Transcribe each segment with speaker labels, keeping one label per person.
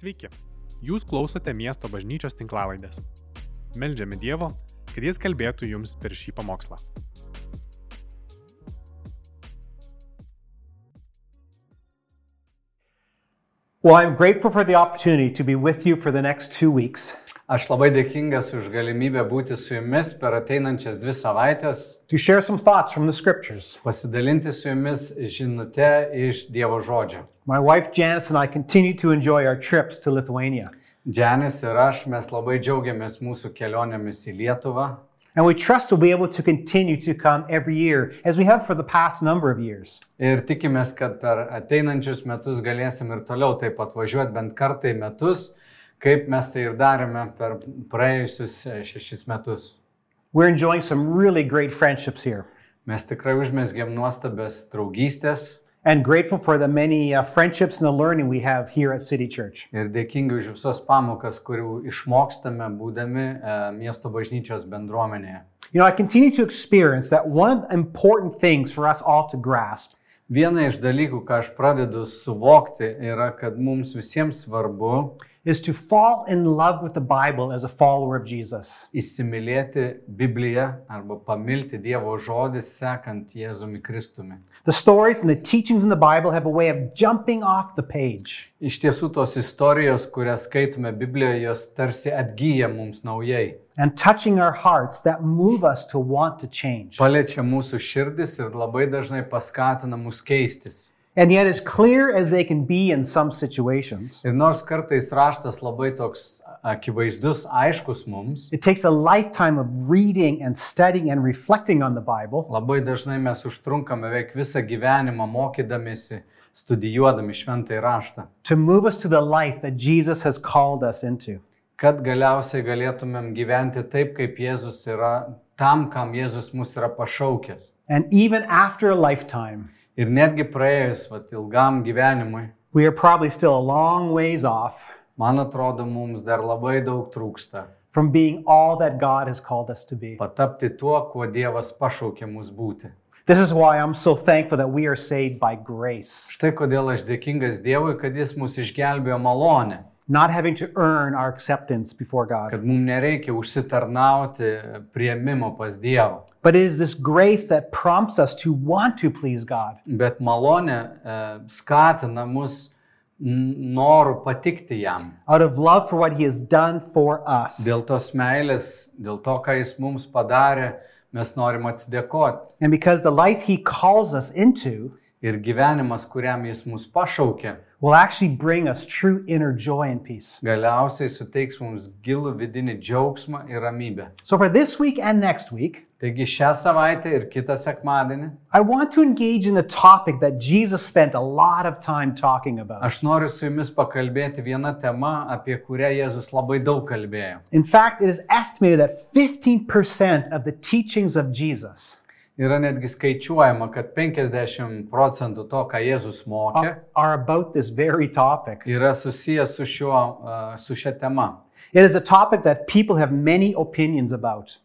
Speaker 1: Sveiki, jūs klausote miesto bažnyčios tinklavaidės. Meldžiame Dievo, kad Jis kalbėtų jums per šį pamokslą.
Speaker 2: Well, I'm grateful for the opportunity to be with you for the next two weeks,
Speaker 3: Aš labai dėkingas už galimybę būti su jumis per ateinančias dvi savaitės,
Speaker 2: to share some thoughts from the scriptures.
Speaker 3: pasidalinti su jumis žinute iš Dievo žodžio.
Speaker 2: My wife Janice and I continue to enjoy our trips to Lithuania,
Speaker 3: Džianis ir aš mes labai džiaugiamės mūsų kelionėmis į Lietuvą
Speaker 2: and we trust we'll be able to continue to come every year as we have for the past number of years.
Speaker 3: ir tikimės, kad per ateinančius metus galėsim ir toliau taip atvažiuoti bent kartą į metus, kaip mes tai ir darėme per praėjusius e, šešis metus.
Speaker 2: We're enjoying some really great friendships here
Speaker 3: Mes tikrai užmėsgėm nuostabės draugystės
Speaker 2: and grateful for the many uh, friendships and the learning we have here at City Church.
Speaker 3: ir dėkingi už visas pamokas, kurių išmokstame būdami e, miesto bažnyčios bendruomenėje.
Speaker 2: You know, I continue to experience that one of the important things for us all to grasp
Speaker 3: Viena iš dalykų, ką aš pradedu suvokti, yra, kad mums visiems svarbu
Speaker 2: is to fall in love with the Bible as a follower of Jesus.
Speaker 3: įsimylėti Bibliją arba pamilti Dievo žodį, sekant Jėzumi Kristumi.
Speaker 2: The stories and the teachings in the Bible have a way of jumping off the page.
Speaker 3: Iš tiesų tos istorijos, kurias skaitome Biblijoje, jos tarsi atgyja mums naujai,
Speaker 2: and touching our hearts that move us to want to change.
Speaker 3: paliečia mūsų širdis ir labai dažnai paskatina mus keistis.
Speaker 2: and yet, as clear as they can be in some situations,
Speaker 3: Ir nors kartais raštas labai toks akivaizdus, aiškus mums,
Speaker 2: it takes a lifetime of reading and studying and reflecting on the Bible
Speaker 3: Labai dažnai mes užtrunkame beveik visą gyvenimą mokydamėsi, studijuodami šventąjį raštą,
Speaker 2: to move us to the life that Jesus has called us into.
Speaker 3: kad galiausiai galėtumėm gyventi taip, kaip Jėzus yra, tam, kam Jėzus mus yra pašaukęs.
Speaker 2: And even after a lifetime,
Speaker 3: Ir netgi praėjus vat, ilgam gyvenimui,
Speaker 2: we are probably still a long ways off
Speaker 3: man atrodo, mums dar labai daug trūksta
Speaker 2: from being all that God has called us to be.
Speaker 3: patapti tuo, kuo Dievas pašaukė mus būti.
Speaker 2: This is why I'm so thankful that we are saved by grace,
Speaker 3: Štai kodėl aš dėkingas Dievui, kad Jis mus išgelbėjo malonę,
Speaker 2: not having to earn our acceptance before God.
Speaker 3: kad mums nereikia užsitarnauti prieimimo pas Dievą.
Speaker 2: But it is this grace that prompts us to want to please God,
Speaker 3: bet malonė e, skatina mus n- noru patikti jam.
Speaker 2: out of love for what He has done for us.
Speaker 3: Dėl tos meilės, dėl to, ką jis mums padarė, mes norim atsidėkoti.
Speaker 2: And because the life He calls us into
Speaker 3: Ir gyvenimas, kuriam jis mus pašaukė,
Speaker 2: will actually bring us true inner joy and peace.
Speaker 3: galiausiai suteiks mums gilų vidinį džiaugsmą ir ramybę.
Speaker 2: So, for this week and next week,
Speaker 3: Taigi šią savaitę ir kitą sekmadienį
Speaker 2: I want to engage in a topic that Jesus spent a lot of time talking about.
Speaker 3: aš noriu su jumis pakalbėti vieną temą, apie kurią Jėzus labai daug kalbėjo.
Speaker 2: In fact, it is estimated that 15% of the teachings of Jesus
Speaker 3: Yra netgi skaičiuojama, kad 50 procentų to, ką Jėzus mokė,
Speaker 2: are, are about this very topic.
Speaker 3: yra susijęs su, šiuo, a, su šia tema.
Speaker 2: It is a topic that people have many opinions about.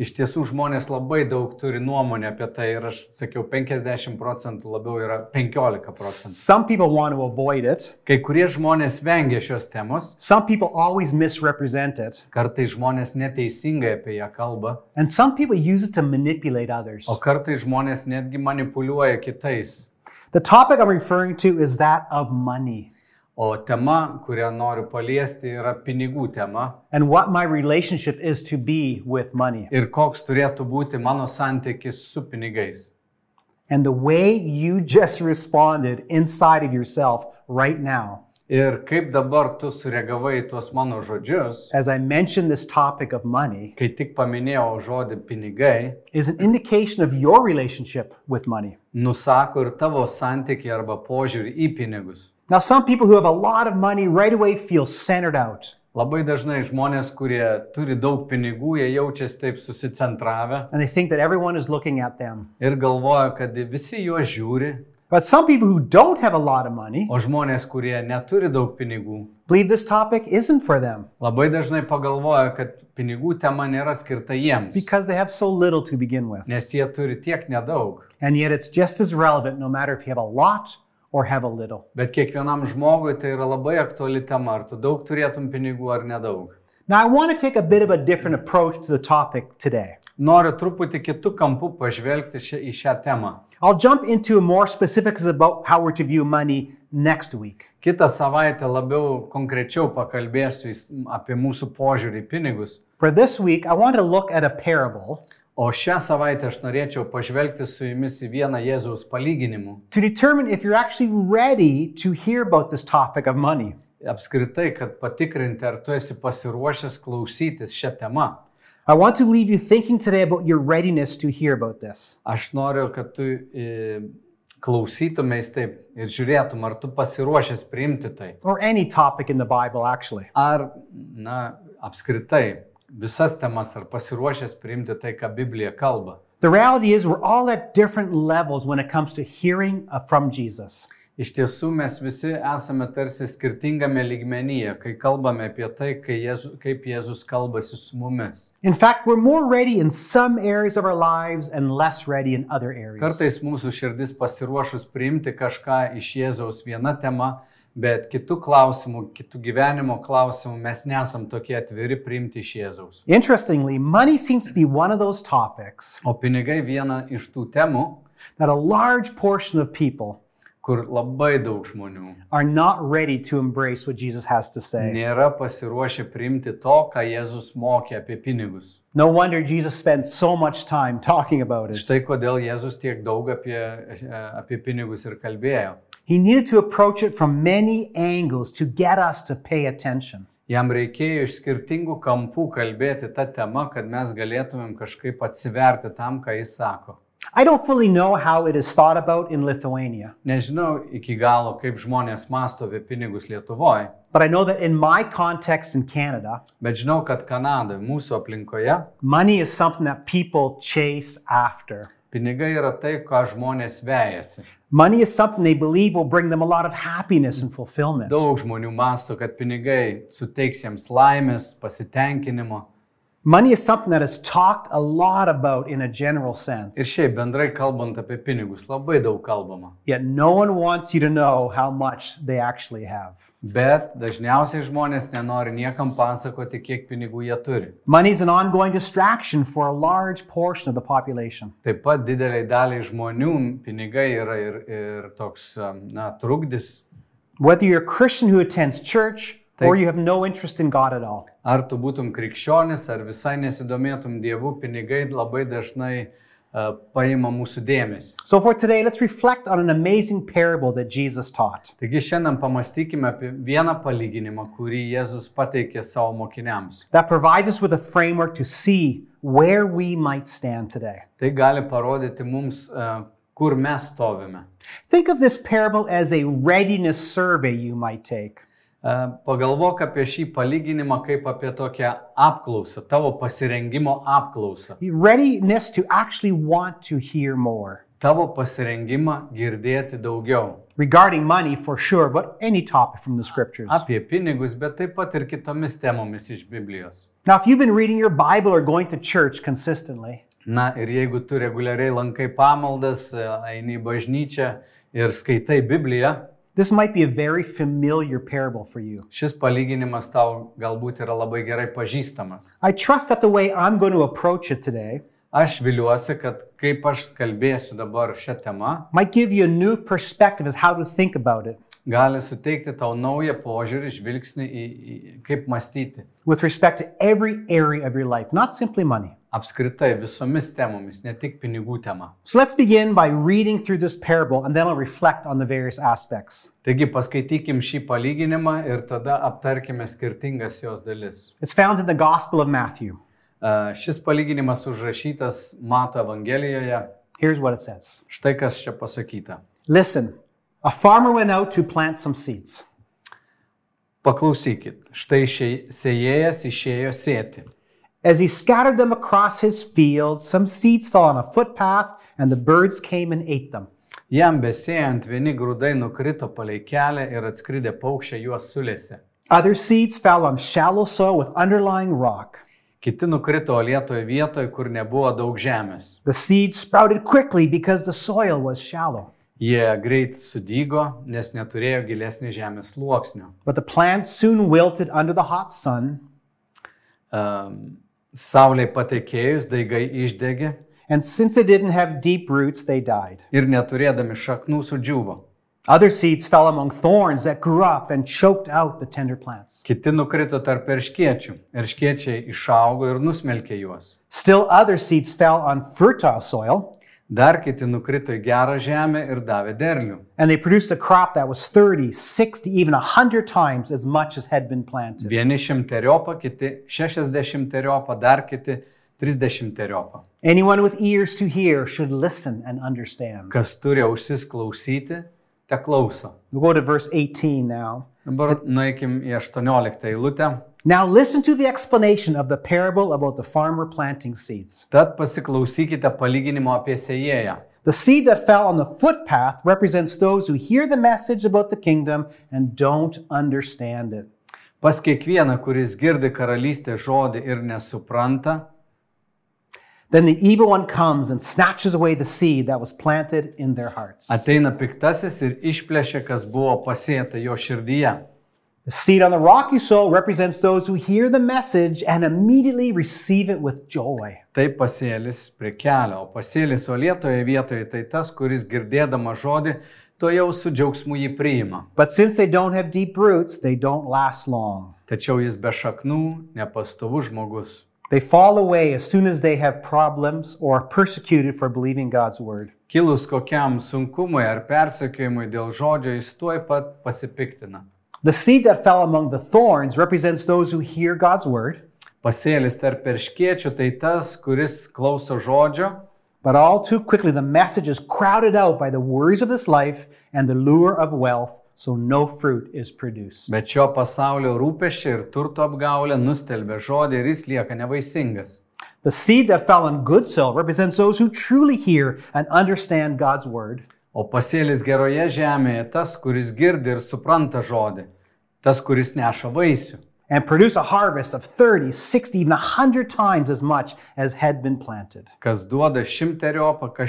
Speaker 3: Iš tiesų žmonės labai daug turi nuomonę apie tai ir aš sakiau, 50 procentų labiau yra 15 procentų.
Speaker 2: Some people want to avoid it.
Speaker 3: Kai kurie žmonės vengia šios temos,
Speaker 2: Some people always misrepresent it.
Speaker 3: kartai žmonės neteisingai apie ją kalba,
Speaker 2: And some people use it to manipulate others.
Speaker 3: o kartai žmonės netgi manipuliuoja kitais.
Speaker 2: The topic I'm referring to is that of money
Speaker 3: O tema, kurią noriu paliesti, yra pinigų tema
Speaker 2: and what my relationship is to be with money.
Speaker 3: ir koks turėtų būti mano santykis su pinigais.
Speaker 2: And the way you just responded inside of yourself right now,
Speaker 3: Ir kaip dabar tu sureagavai į tuos mano žodžius,
Speaker 2: as I mentioned this topic of money,
Speaker 3: kai tik paminėjau žodį pinigai,
Speaker 2: is an indication of your relationship with money.
Speaker 3: nusako ir tavo santykį arba požiūrį į pinigus.
Speaker 2: Now, some people who have a lot of money right away feel centered out
Speaker 3: Labai dažnai žmonės, kurie turi daug pinigų, jie jaučiasi taip susicentravę
Speaker 2: and they think that everyone is looking at them.
Speaker 3: ir galvoja, kad visi juos žiūri,
Speaker 2: But some people who don't have a lot of money
Speaker 3: o žmonės, kurie neturi daug pinigų,
Speaker 2: believe this topic isn't for them
Speaker 3: labai dažnai pagalvoja, kad pinigų tema nėra skirta jiems,
Speaker 2: because they have so little to begin with.
Speaker 3: nes jie turi tiek nedaug.
Speaker 2: And yet, it's just as relevant no matter if you have a lot or have a little.
Speaker 3: Bet kiekvienam žmogui tai yra labai aktuali tema, ar tu daug turėtum pinigų ar nedaug.
Speaker 2: Now, I want to take a bit of a different approach to the topic today.
Speaker 3: Noriu truputį kitų kampų pažvelgti ši- į šią temą.
Speaker 2: I'll jump into more specifics about how we're to view money next week.
Speaker 3: Kitą savaitę labiau konkrečiau pakalbėsiu įs- apie mūsų požiūrį į pinigus.
Speaker 2: For this week, I want to look at a parable
Speaker 3: O šią savaitę aš norėčiau pažvelgti su jumis į vieną Jėzaus palyginimų.
Speaker 2: to determine if you're actually ready to hear about this topic of money.
Speaker 3: Apskritai, kad patikrinti, ar tu esi pasiruošęs klausytis šią temą.
Speaker 2: I want to leave you thinking today about your readiness to hear about this.
Speaker 3: Aš noriu, kad tu e, klausytumės taip ir žiūrėtum, ar tu pasiruošęs priimti tai.
Speaker 2: or any topic in the Bible, actually.
Speaker 3: Ar, na, apskritai visas temas, ar pasiruošęs priimti tai, ką Biblija kalba.
Speaker 2: The reality is, we're all at different levels when it comes to hearing uh, from Jesus.
Speaker 3: Iš tiesų mes visi esame tarsi skirtingame lygmenyje, kai kalbame apie tai, kai Jėzu, kaip Jėzus kalbasi su mumis.
Speaker 2: In fact, we're more ready in some areas of our lives and less ready in other areas.
Speaker 3: Kartais mūsų širdis pasiruošus priimti kažką iš Jėzaus viena tema, bet kitų klausimų, kitų gyvenimo klausimų mes nesam tokie atviri priimti iš Jėzaus.
Speaker 2: Interestingly, money seems to be one of those topics
Speaker 3: O pinigai viena iš tų temų,
Speaker 2: that a large portion of people
Speaker 3: kur labai daug žmonių
Speaker 2: are not ready to embrace what Jesus has to say.
Speaker 3: nėra pasiruošę priimti to, ką Jėzus mokė apie pinigus.
Speaker 2: No wonder Jesus spends so much time talking about it.
Speaker 3: Štai kodėl Jėzus tiek daug apie, e, apie pinigus ir kalbėjo.
Speaker 2: He needed to approach it from many angles to get us to pay attention.
Speaker 3: Jam reikėjo iš skirtingų kampų kalbėti tą temą, kad mes galėtumėm kažkaip atsiverti tam, ką jis sako.
Speaker 2: I don't fully know how it is thought about in Lithuania,
Speaker 3: Nežinau iki galo, kaip žmonės masto apie pinigus Lietuvoje,
Speaker 2: but I know that in my context in Canada,
Speaker 3: bet žinau, kad Kanadoje, mūsų aplinkoje,
Speaker 2: money is something that people chase after.
Speaker 3: pinigai yra tai, ką žmonės vejasi.
Speaker 2: Money is something they believe will bring them a lot of happiness and fulfillment.
Speaker 3: Daug žmonių masto, kad pinigai suteiks jiems laimės, pasitenkinimo.
Speaker 2: Money is something that is talked a lot about in a general sense,
Speaker 3: Ir šiaip bendrai kalbant apie pinigus, labai daug kalbama.
Speaker 2: yet no one wants you to know how much they actually have.
Speaker 3: Bet dažniausiai žmonės nenori niekam pasakoti, kiek pinigų jie turi.
Speaker 2: Money is an ongoing distraction for a large portion of the population.
Speaker 3: Taip pat dideliai daliai žmonių pinigai yra ir, ir toks, um, na, trukdis.
Speaker 2: Whether you're a Christian who attends church or you have no interest in God at all.
Speaker 3: Ar tu būtum krikščionis, ar visai nesidomėtum dievų, pinigai labai dažnai uh, paima mūsų dėmesį.
Speaker 2: So, for today, let's reflect on an amazing parable that Jesus taught.
Speaker 3: Taigi šiandien pamastykime apie vieną palyginimą, kurį Jėzus pateikė savo mokiniams.
Speaker 2: that provides us with a framework to see where we might stand today.
Speaker 3: Tai gali parodyti mums, uh, kur mes stovime.
Speaker 2: Think of this parable as a readiness survey you might take.
Speaker 3: Uh, Pagalvok apie šį palyginimą kaip apie tokią apklausą, tavo pasirengimo apklausą,
Speaker 2: Readiness to actually want to hear more
Speaker 3: tavo pasirengimą girdėti daugiau
Speaker 2: regarding money for sure, but any topic from the scriptures.
Speaker 3: apie pinigus, bet taip pat ir kitomis temomis iš Biblijos.
Speaker 2: Now, if you've been reading your Bible or going to church consistently,
Speaker 3: Na ir jeigu tu reguliariai lankai pamaldas, e, eini į bažnyčią ir skaitai Bibliją,
Speaker 2: this might be a very familiar parable for you.
Speaker 3: šis palyginimas tau galbūt yra labai gerai pažįstamas.
Speaker 2: I trust that the way I'm going to approach it today
Speaker 3: Aš viliuosi, kad kaip aš kalbėsiu dabar šią temą,
Speaker 2: might give you a new perspective as how to think about it
Speaker 3: gali suteikti tau naują požiūrį, žvilgsnį į, į kaip mąstyti.
Speaker 2: with respect to every area of your life, not simply money.
Speaker 3: Apskritai visomis temomis, ne tik pinigų tema.
Speaker 2: So let's begin by reading through this parable and then I'll reflect on the various aspects.
Speaker 3: Taigi paskaitykim šį palyginimą ir tada aptarkime skirtingas jos dalis.
Speaker 2: It's found in the Gospel of Matthew.
Speaker 3: E, Šis palyginimas užrašytas Mato Evangelijoje.
Speaker 2: Here's what it says
Speaker 3: Štai kas čia pasakyta.
Speaker 2: Listen, a farmer went out to plant some seeds.
Speaker 3: Paklausykit, štai šei- sėjėjas išėjo sėti.
Speaker 2: As he scattered them across his field, some seeds fell on a footpath and the birds came and ate them.
Speaker 3: Jam besėjant vieni grūdai nukrito palei kelią ir atskridę paukščiai juos sulėsi.
Speaker 2: Other seeds fell on shallow soil with underlying rock.
Speaker 3: Kiti nukrito lietoje vietoje, kur nebuvo daug žemės.
Speaker 2: The seeds sprouted quickly because the soil was shallow.
Speaker 3: Jie greit sudygo, nes neturėjo gilesnio žemės sluoksnio.
Speaker 2: But the plants soon wilted under the hot sun,
Speaker 3: Um, Saulė patekėjus, daigai išdegė
Speaker 2: and since they didn't have deep roots, they died.
Speaker 3: ir neturėdami šaknų sudžiuvo.
Speaker 2: Other seeds fell among thorns that grew up and choked out the tender plants.
Speaker 3: Kiti nukrito tarp erškiečių. Erškiečiai išaugo ir nusmelkė juos.
Speaker 2: Still other seeds fell on fertile soil,
Speaker 3: Dar kiti nukrito į gerą žemę ir davė derlių.
Speaker 2: and they produced a crop that was 30, 60, even 100 times as much as had been planted.
Speaker 3: Vieni šimteriopą, kiti šešiasdešimteriopą, dar kiti trisdešimteriopą.
Speaker 2: Anyone with ears to hear should listen and understand.
Speaker 3: Kas turi ausis klausyti, te klauso.
Speaker 2: We'll go to verse 18 now.
Speaker 3: Dabar nueikim į 18 eilutę.
Speaker 2: Now listen to the explanation of the parable about the farmer planting seeds.
Speaker 3: Tad pasiklausykite palyginimo apie sėjėją.
Speaker 2: The seed that fell on the footpath represents those who hear the message about the kingdom and don't understand it.
Speaker 3: Pas kiekvieną, kuris girdi karalystės žodį ir nesupranta,
Speaker 2: Then the evil one comes and snatches away the seed that was planted in their hearts.
Speaker 3: ateina piktasis ir išplėšia, kas buvo pasėta jo širdyje.
Speaker 2: The seed on the rocky soil represents those who hear the message and immediately receive it with joy.
Speaker 3: Tai pasėlis prie kelio, o pasėlis uolėtoje vietoje tai tas, kuris girdėdama žodį, to jau su džiaugsmu jį priima.
Speaker 2: But since they don't have deep roots, they don't last long.
Speaker 3: Tačiau jis be šaknų, nepastovus žmogus.
Speaker 2: They fall away as soon as they have problems or are persecuted for believing God's word.
Speaker 3: Kilus kokiam sunkumui ar persekiojimui dėl žodžio, jis tuoj pat pasipiktina.
Speaker 2: The seed that fell among the thorns represents those who hear God's word,
Speaker 3: Pasėlis tarp perškiečių tai tas, kuris klauso žodžio,
Speaker 2: but all too quickly the message is crowded out by the worries of this life and the lure of wealth, so no fruit is produced.
Speaker 3: bet šio pasaulio rūpeščiai ir turto apgaulė nustelbė žodį ir jis lieka nevaisingas.
Speaker 2: The seed that fell on good soil represents those who truly hear and understand God's word,
Speaker 3: O pasėlis geroje žemėje tas, kuris girdi ir supranta žodį, tas, kuris neša vaisių
Speaker 2: and produce a harvest of 30, 60, even 100 times as much as had been planted.
Speaker 3: kas duoda šimteriopą, kas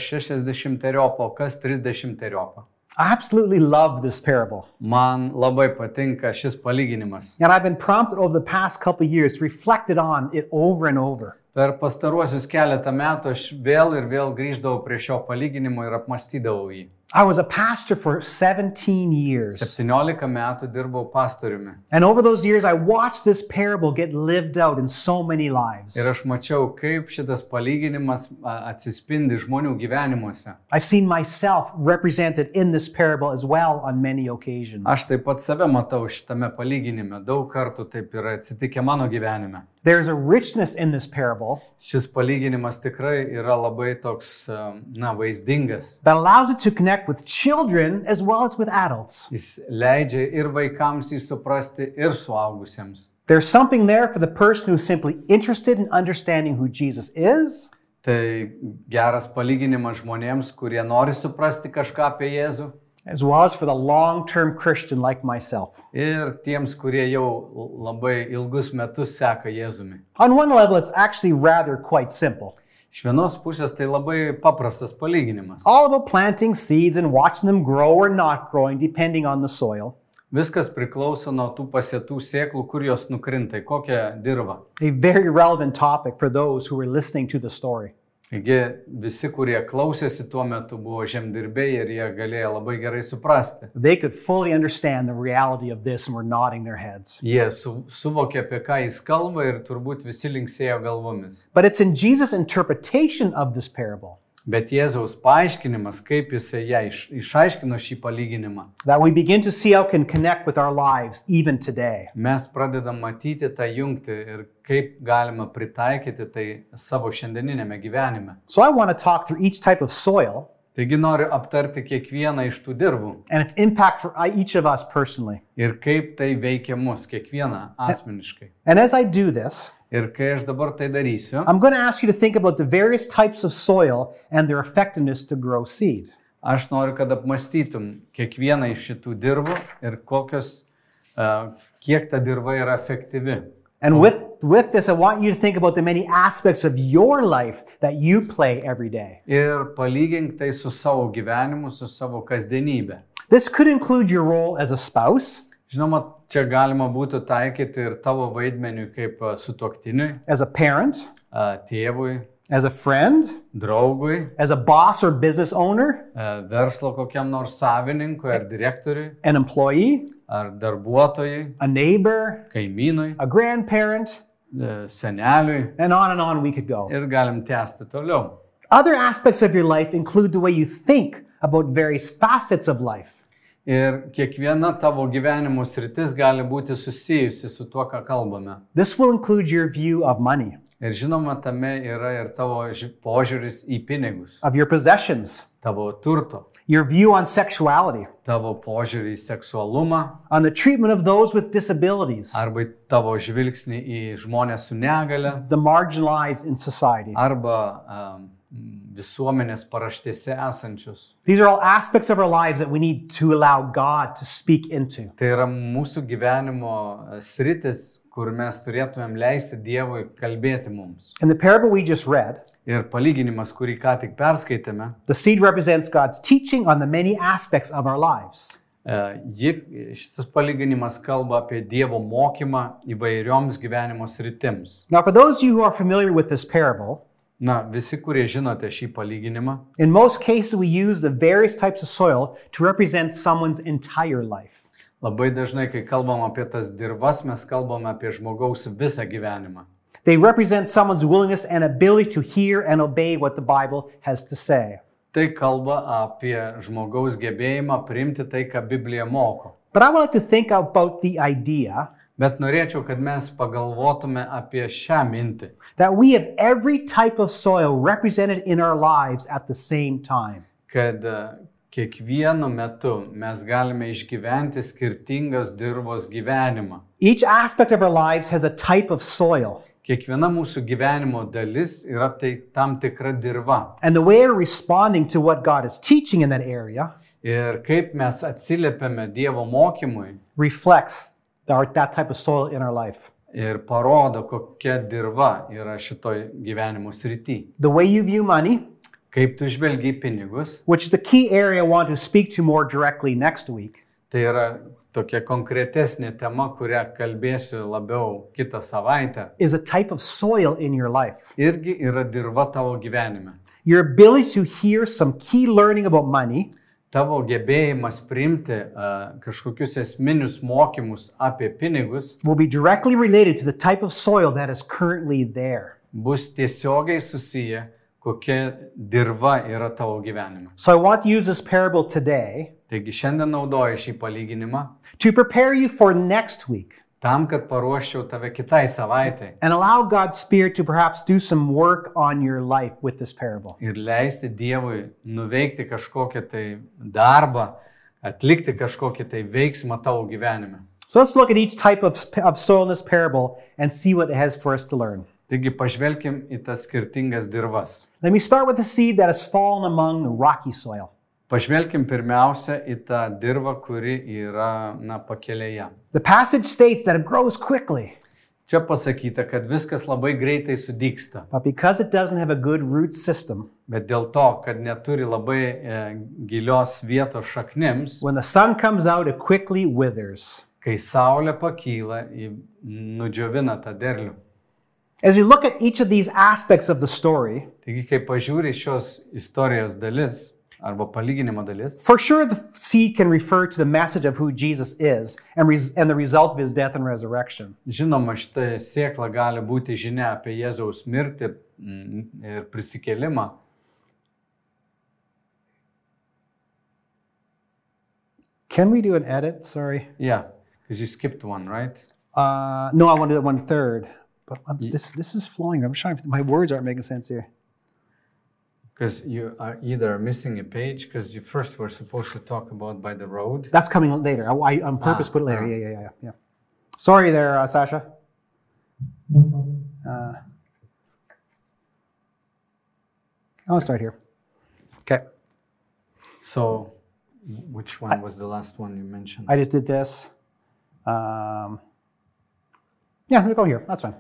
Speaker 3: šešiasdešimteriopą, o kas trisdešimteriopą.
Speaker 2: I absolutely love this parable.
Speaker 3: Man labai patinka šis palyginimas.
Speaker 2: And I've been prompted over the past couple years, reflected on it over and over.
Speaker 3: Per pastaruosius keletą metų aš vėl ir vėl grįždavau prie šio palyginimo ir apmastydavau jį.
Speaker 2: I was a pastor for 17 years.
Speaker 3: 17 metų dirbau pastoriumi
Speaker 2: And over those years, I watched this parable get lived out in so many lives.
Speaker 3: ir aš mačiau, kaip šitas palyginimas a, atsispindi žmonių gyvenimuose.
Speaker 2: I've seen myself represented in this parable as well on many occasions.
Speaker 3: Aš taip pat save matau šitame palyginime, daug kartų taip yra atsitikę mano gyvenime.
Speaker 2: There's a richness in this parable
Speaker 3: Šis palyginimas tikrai yra labai toks, a, na, vaizdingas.
Speaker 2: that allows it to connect with children as well as with adults.
Speaker 3: Jis leidžia ir vaikams jį suprasti, ir suaugusiems.
Speaker 2: There's something there for the person who's simply interested in understanding who Jesus is,
Speaker 3: Tai geras palyginimas žmonėms, kurie nori suprasti kažką apie Jėzų
Speaker 2: as well as for the long term Christian like myself.
Speaker 3: ir tiems, kurie jau labai ilgus metus seka Jėzumi.
Speaker 2: On one level, it's actually rather quite simple.
Speaker 3: Iš vienos pusės tai labai paprastas palyginimas.
Speaker 2: All about planting seeds and watching them grow or not growing, depending on the soil.
Speaker 3: Viskas priklauso nuo tų pasėtų sėklų, kur jos nukrinta, į kokią dirvą.
Speaker 2: A very relevant topic for those who were listening to the story.
Speaker 3: Taigi visi, kurie klausėsi tuo metu, buvo žemdirbėjai ir jie galėjo labai gerai suprasti.
Speaker 2: They could fully understand the reality of this and were nodding their heads.
Speaker 3: Jie su, suvokė, apie ką jis kalba ir turbūt visi linksėjo galvomis.
Speaker 2: But it's in Jesus' interpretation of this parable
Speaker 3: Bet Jėzaus paaiškinimas, kaip jisai ją iš, išaiškino šį palyginimą,
Speaker 2: that we begin to see how it can connect with our lives even today.
Speaker 3: mes pradedam matyti tą jungtį ir kaip galima pritaikyti tai savo šiandieninėme gyvenime.
Speaker 2: So I want to talk through each type of soil
Speaker 3: Taigi noriu aptarti kiekvieną iš tų dirvų
Speaker 2: and its impact for uh, each of us personally.
Speaker 3: ir kaip tai veikia mus, kiekvieną asmeniškai.
Speaker 2: And as I do this,
Speaker 3: Ir kai aš dabar tai darysiu,
Speaker 2: I'm going to ask you to think about the various types of soil and their effectiveness to grow seed.
Speaker 3: aš noriu, kad apmastytum e, kiekvieną iš šitų dirvų ir kokios, a, kiek ta dirva yra efektyvi.
Speaker 2: And with, with this, I want you to think about the many aspects of your life that you play every day.
Speaker 3: ir palygink tai su savo gyvenimu, su savo kasdienybė.
Speaker 2: This could include your role as a spouse,
Speaker 3: Žinoma, čia galima būtų taikyti ir tavo vaidmeniui kaip sutoktiniui,
Speaker 2: as a parent,
Speaker 3: tėvui,
Speaker 2: as a friend,
Speaker 3: draugui,
Speaker 2: as a boss or business owner,
Speaker 3: a, verslo kokiam nors savininkui ar direktoriui,
Speaker 2: an employee,
Speaker 3: ar darbuotojui,
Speaker 2: a neighbor,
Speaker 3: kaimynui,
Speaker 2: a grandparent,
Speaker 3: e, seneliui
Speaker 2: and on and on we could go.
Speaker 3: ir galim tęsti toliau.
Speaker 2: Other aspects of your life include the way you think about various facets of life.
Speaker 3: Ir kiekviena tavo gyvenimo sritis gali būti susijusi su tuo, ką kalbame.
Speaker 2: This will include your view of money,
Speaker 3: Ir žinoma, tame yra ir tavo ži- požiūris į pinigus,
Speaker 2: of your possessions,
Speaker 3: tavo turto,
Speaker 2: your view on sexuality,
Speaker 3: tavo požiūrį į seksualumą
Speaker 2: on the treatment of those with disabilities,
Speaker 3: arba į tavo žvilgsnį į žmonės su negale
Speaker 2: the marginalized in society.
Speaker 3: arba um, visuomenės paraštėse esančius.
Speaker 2: These are all aspects of our lives that we need to allow God to speak into.
Speaker 3: Tai yra mūsų gyvenimo e, sritis, kur mes turėtumėm leisti Dievui kalbėti mums.
Speaker 2: In the parable we just read,
Speaker 3: Ir palyginimas, kurį ką tik perskaitėme,
Speaker 2: the seed represents God's teaching on the many aspects of our lives.
Speaker 3: E, Ji, šitas palyginimas kalba apie Dievo mokymą įvairioms gyvenimo sritims.
Speaker 2: Now, for those of you who are familiar with this parable,
Speaker 3: Na, visi, kurie žinote šį palyginimą,
Speaker 2: in most cases we use the various types of soil to represent someone's entire life.
Speaker 3: labai dažnai, kai kalbam apie tas dirbas, mes kalbam apie žmogaus visą gyvenimą.
Speaker 2: They represent someone's willingness and ability to hear and obey what the Bible has to say.
Speaker 3: Tai kalba apie žmogaus gebėjimą priimti tai, ką Biblija moko.
Speaker 2: But I want to think about the idea
Speaker 3: Bet norėčiau, kad mes pagalvotume apie šią mintį,
Speaker 2: that we have every type of soil represented in our lives at the same time.
Speaker 3: kad e, kiekvienu metu mes galime išgyventi skirtingos dirbos gyvenimą.
Speaker 2: Each aspect of our lives has a type of soil,
Speaker 3: Kiekviena mūsų gyvenimo dalis yra tai tam tikra dirba.
Speaker 2: and the way we're responding to what God is teaching in that area
Speaker 3: Ir kaip mes atsiliepiame Dievo mokymui
Speaker 2: reflects our, that type of soil in our life.
Speaker 3: ir parodo, kokia dirba yra šitoj gyvenimo srity.
Speaker 2: The way you view money,
Speaker 3: Kaip tu žvelgi į pinigus,
Speaker 2: which is the key area I want to speak to more directly next week,
Speaker 3: tai yra tokia konkretesnė tema, kurią kalbėsiu labiau kitą savaitę.
Speaker 2: is a type of soil in your life.
Speaker 3: Irgi yra dirba tavo gyvenime.
Speaker 2: Your ability to hear some key learning about money
Speaker 3: Tavo gebėjimas priimti uh, kažkokius esminius mokymus apie pinigus
Speaker 2: will be directly related to the type of soil that is currently there.
Speaker 3: bus tiesiogiai susiję, kokia dirba yra tavo gyvenime.
Speaker 2: So I want to use this parable today
Speaker 3: Taigi šiandien naudoju šį palyginimą
Speaker 2: to prepare you for next week
Speaker 3: tam, kad paruoščiau tave kitai savaitai
Speaker 2: and allow God's Spirit to perhaps do some work on your life with this parable.
Speaker 3: ir leisti Dievui nuveikti kažkokį tai darbą, atlikti kažkokį tai veiksmą tavo gyvenime.
Speaker 2: So let's look at each type of, sp- of soil in this parable and see what it has for us to learn.
Speaker 3: Taigi pažvelkim į tas skirtingas dirvas.
Speaker 2: Let me start with the seed that has fallen among the rocky soil.
Speaker 3: Pažvelkim pirmiausia į tą dirvą, kuri yra na, pakelėje.
Speaker 2: The passage states that it grows quickly,
Speaker 3: Čia pasakyta, kad viskas labai greitai sudyksta.
Speaker 2: but because it doesn't have a good root system,
Speaker 3: Bet dėl to, kad neturi labai e, gilios vietos šaknims,
Speaker 2: when the sun comes out, it quickly withers.
Speaker 3: kai saulė pakyla, ji nudžiovina tą derlių.
Speaker 2: As you look at each of these aspects of the story,
Speaker 3: Taigi, kai pažiūri šios istorijos dalis arba palyginimo dalis,
Speaker 2: For sure, the seed can refer to the message of who Jesus is and, res- and the result of his death and resurrection.
Speaker 3: žinoma, šitą sėklą gali būti žinia apie Jėzaus mirtį mm, ir prisikelimą.
Speaker 2: Can we do an edit? Sorry.
Speaker 3: Yeah, because you skipped one, right?
Speaker 2: Uh, no, I want to do one third. But um, this, this is flowing. I'm trying. My words aren't making sense here.
Speaker 3: Because you are either missing a page, because you first were supposed to talk about by the road.
Speaker 2: That's coming later. I, I on purpose
Speaker 3: Ah,
Speaker 2: put it later.
Speaker 3: alright.
Speaker 2: Yeah, yeah, yeah, yeah. Sorry there, uh, Sasha. Uh, I'll start here. Okay.
Speaker 3: So, which one was the last one you mentioned?
Speaker 2: I just did this. Um, Yeah, we go here. That's fine.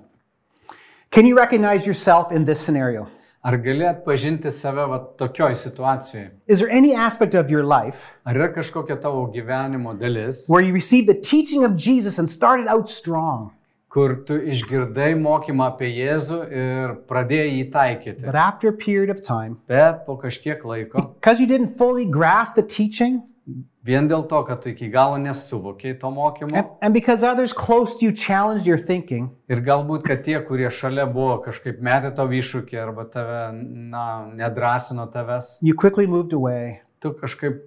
Speaker 2: Can you recognize yourself in this scenario?
Speaker 3: Ar gali atpažinti save va tokioj situacijoje?
Speaker 2: Is there any aspect of your life
Speaker 3: Ar yra kažkokia tavo gyvenimo dalis,
Speaker 2: where you received the teaching of Jesus and started out strong,
Speaker 3: kur tu išgirdai mokymą apie Jėzų ir pradėjai jį taikyti,
Speaker 2: but after a period of time,
Speaker 3: bet po kažkiek laiko,
Speaker 2: because you didn't fully grasp the teaching,
Speaker 3: vien dėl to, kad tu iki galo nesuvokiai to mokymo
Speaker 2: and, and because others close to you challenged your thinking,
Speaker 3: ir galbūt, kad tie, kurie šalia buvo kažkaip metė tavo iššūkį arba tave, na, nedrasino tavęs,
Speaker 2: you quickly moved away
Speaker 3: tu kažkaip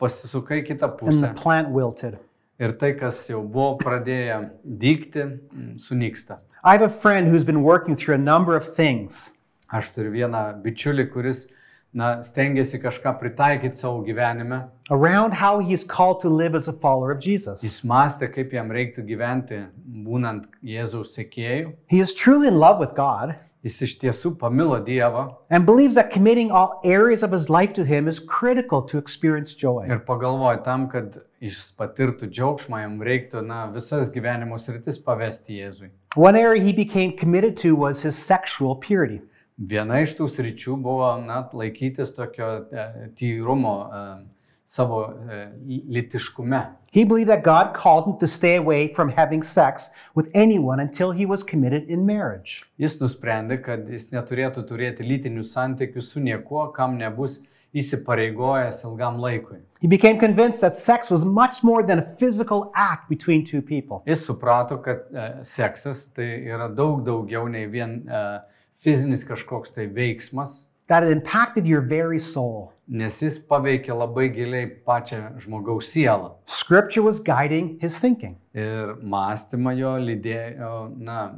Speaker 3: pasisukai kitą
Speaker 2: and the
Speaker 3: pusę
Speaker 2: plant wilted.
Speaker 3: ir tai, kas jau buvo pradėję dykti, mm, sunyksta.
Speaker 2: I have a friend who's been working through a number of things,
Speaker 3: Aš turiu vieną bičiulį, kuris, na, stengiasi kažką pritaikyti savo gyvenime.
Speaker 2: around how he is called to live as a follower of Jesus.
Speaker 3: Jis mąstė, kaip jam reiktų gyventi, būnant Jėzaus sekėjų.
Speaker 2: He is truly in love with God
Speaker 3: Jis iš tiesų pamilo Dievą
Speaker 2: and believes that committing all areas of his life to him is critical to experience joy.
Speaker 3: ir pagalvojo tam, kad jis patirtų džiaugsmą, jam reiktų na, visas gyvenimo sritis pavesti Jėzui.
Speaker 2: One area he became committed to was his sexual purity.
Speaker 3: Viena iš tų sričių buvo na, laikytis tokio e, tyrumo e, savo e, li- litiškume.
Speaker 2: He believed that God called him to stay away from having sex with anyone until he was committed in marriage.
Speaker 3: Jis nusprendė, kad jis neturėtų turėti lytinių santykių su niekuo, kam nebus įsipareigojęs ilgam laikui.
Speaker 2: He became convinced that sex was much more than a physical act between two people.
Speaker 3: Jis suprato, kad e, seksas tai yra daug daugiau nei vien e, fizinis kažkoks tai veiksmas,
Speaker 2: That it impacted your very soul.
Speaker 3: nes jis paveikia labai giliai pačią žmogaus sielą.
Speaker 2: Scripture was guiding his thinking.
Speaker 3: Ir mąstymą jo lydėjo, na,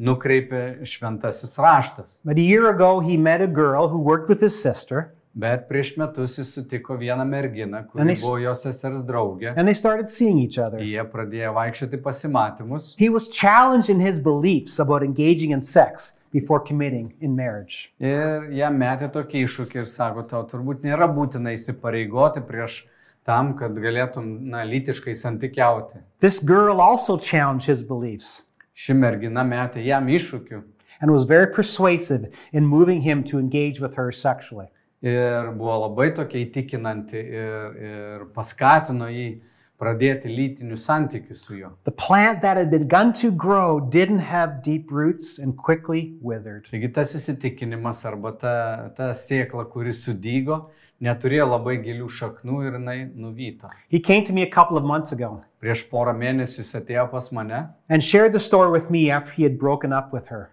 Speaker 3: nukreipė šventasis raštas.
Speaker 2: But a year ago, he met a girl who worked with his sister,
Speaker 3: Bet prieš metus jis sutiko vieną merginą,
Speaker 2: Na,
Speaker 3: kuri
Speaker 2: jis-
Speaker 3: buvo jos sesers draugė.
Speaker 2: and they started seeing each other.
Speaker 3: Jie pradėjo vaikščioti pasimatymus.
Speaker 2: He was challenged in his beliefs about engaging in sex before committing in marriage.
Speaker 3: Ir jam metė tokį iššūkį ir sako, tau turbūt nėra būtina įsipareigoti prieš tam, kad galėtum na, lytiškai santykiauti.
Speaker 2: This girl also challenged his beliefs
Speaker 3: Ši mergina metė jam iššūkių
Speaker 2: and was very persuasive in moving him to engage with her sexually.
Speaker 3: ir buvo labai tokia įtikinanti ir, ir paskatino jį pradėti lytinius santykius su juo.
Speaker 2: The plant that had begun to grow didn't have deep roots and quickly withered.
Speaker 3: Taigi tas įsitikinimas arba ta, ta sėkla, kuri sudygo, neturėjo labai gilių šaknų ir jinai nuvyto.
Speaker 2: He came to me a couple of months ago
Speaker 3: Prieš porą mėnesių jis atėjo pas mane,
Speaker 2: and shared the story with me after he had broken up with her.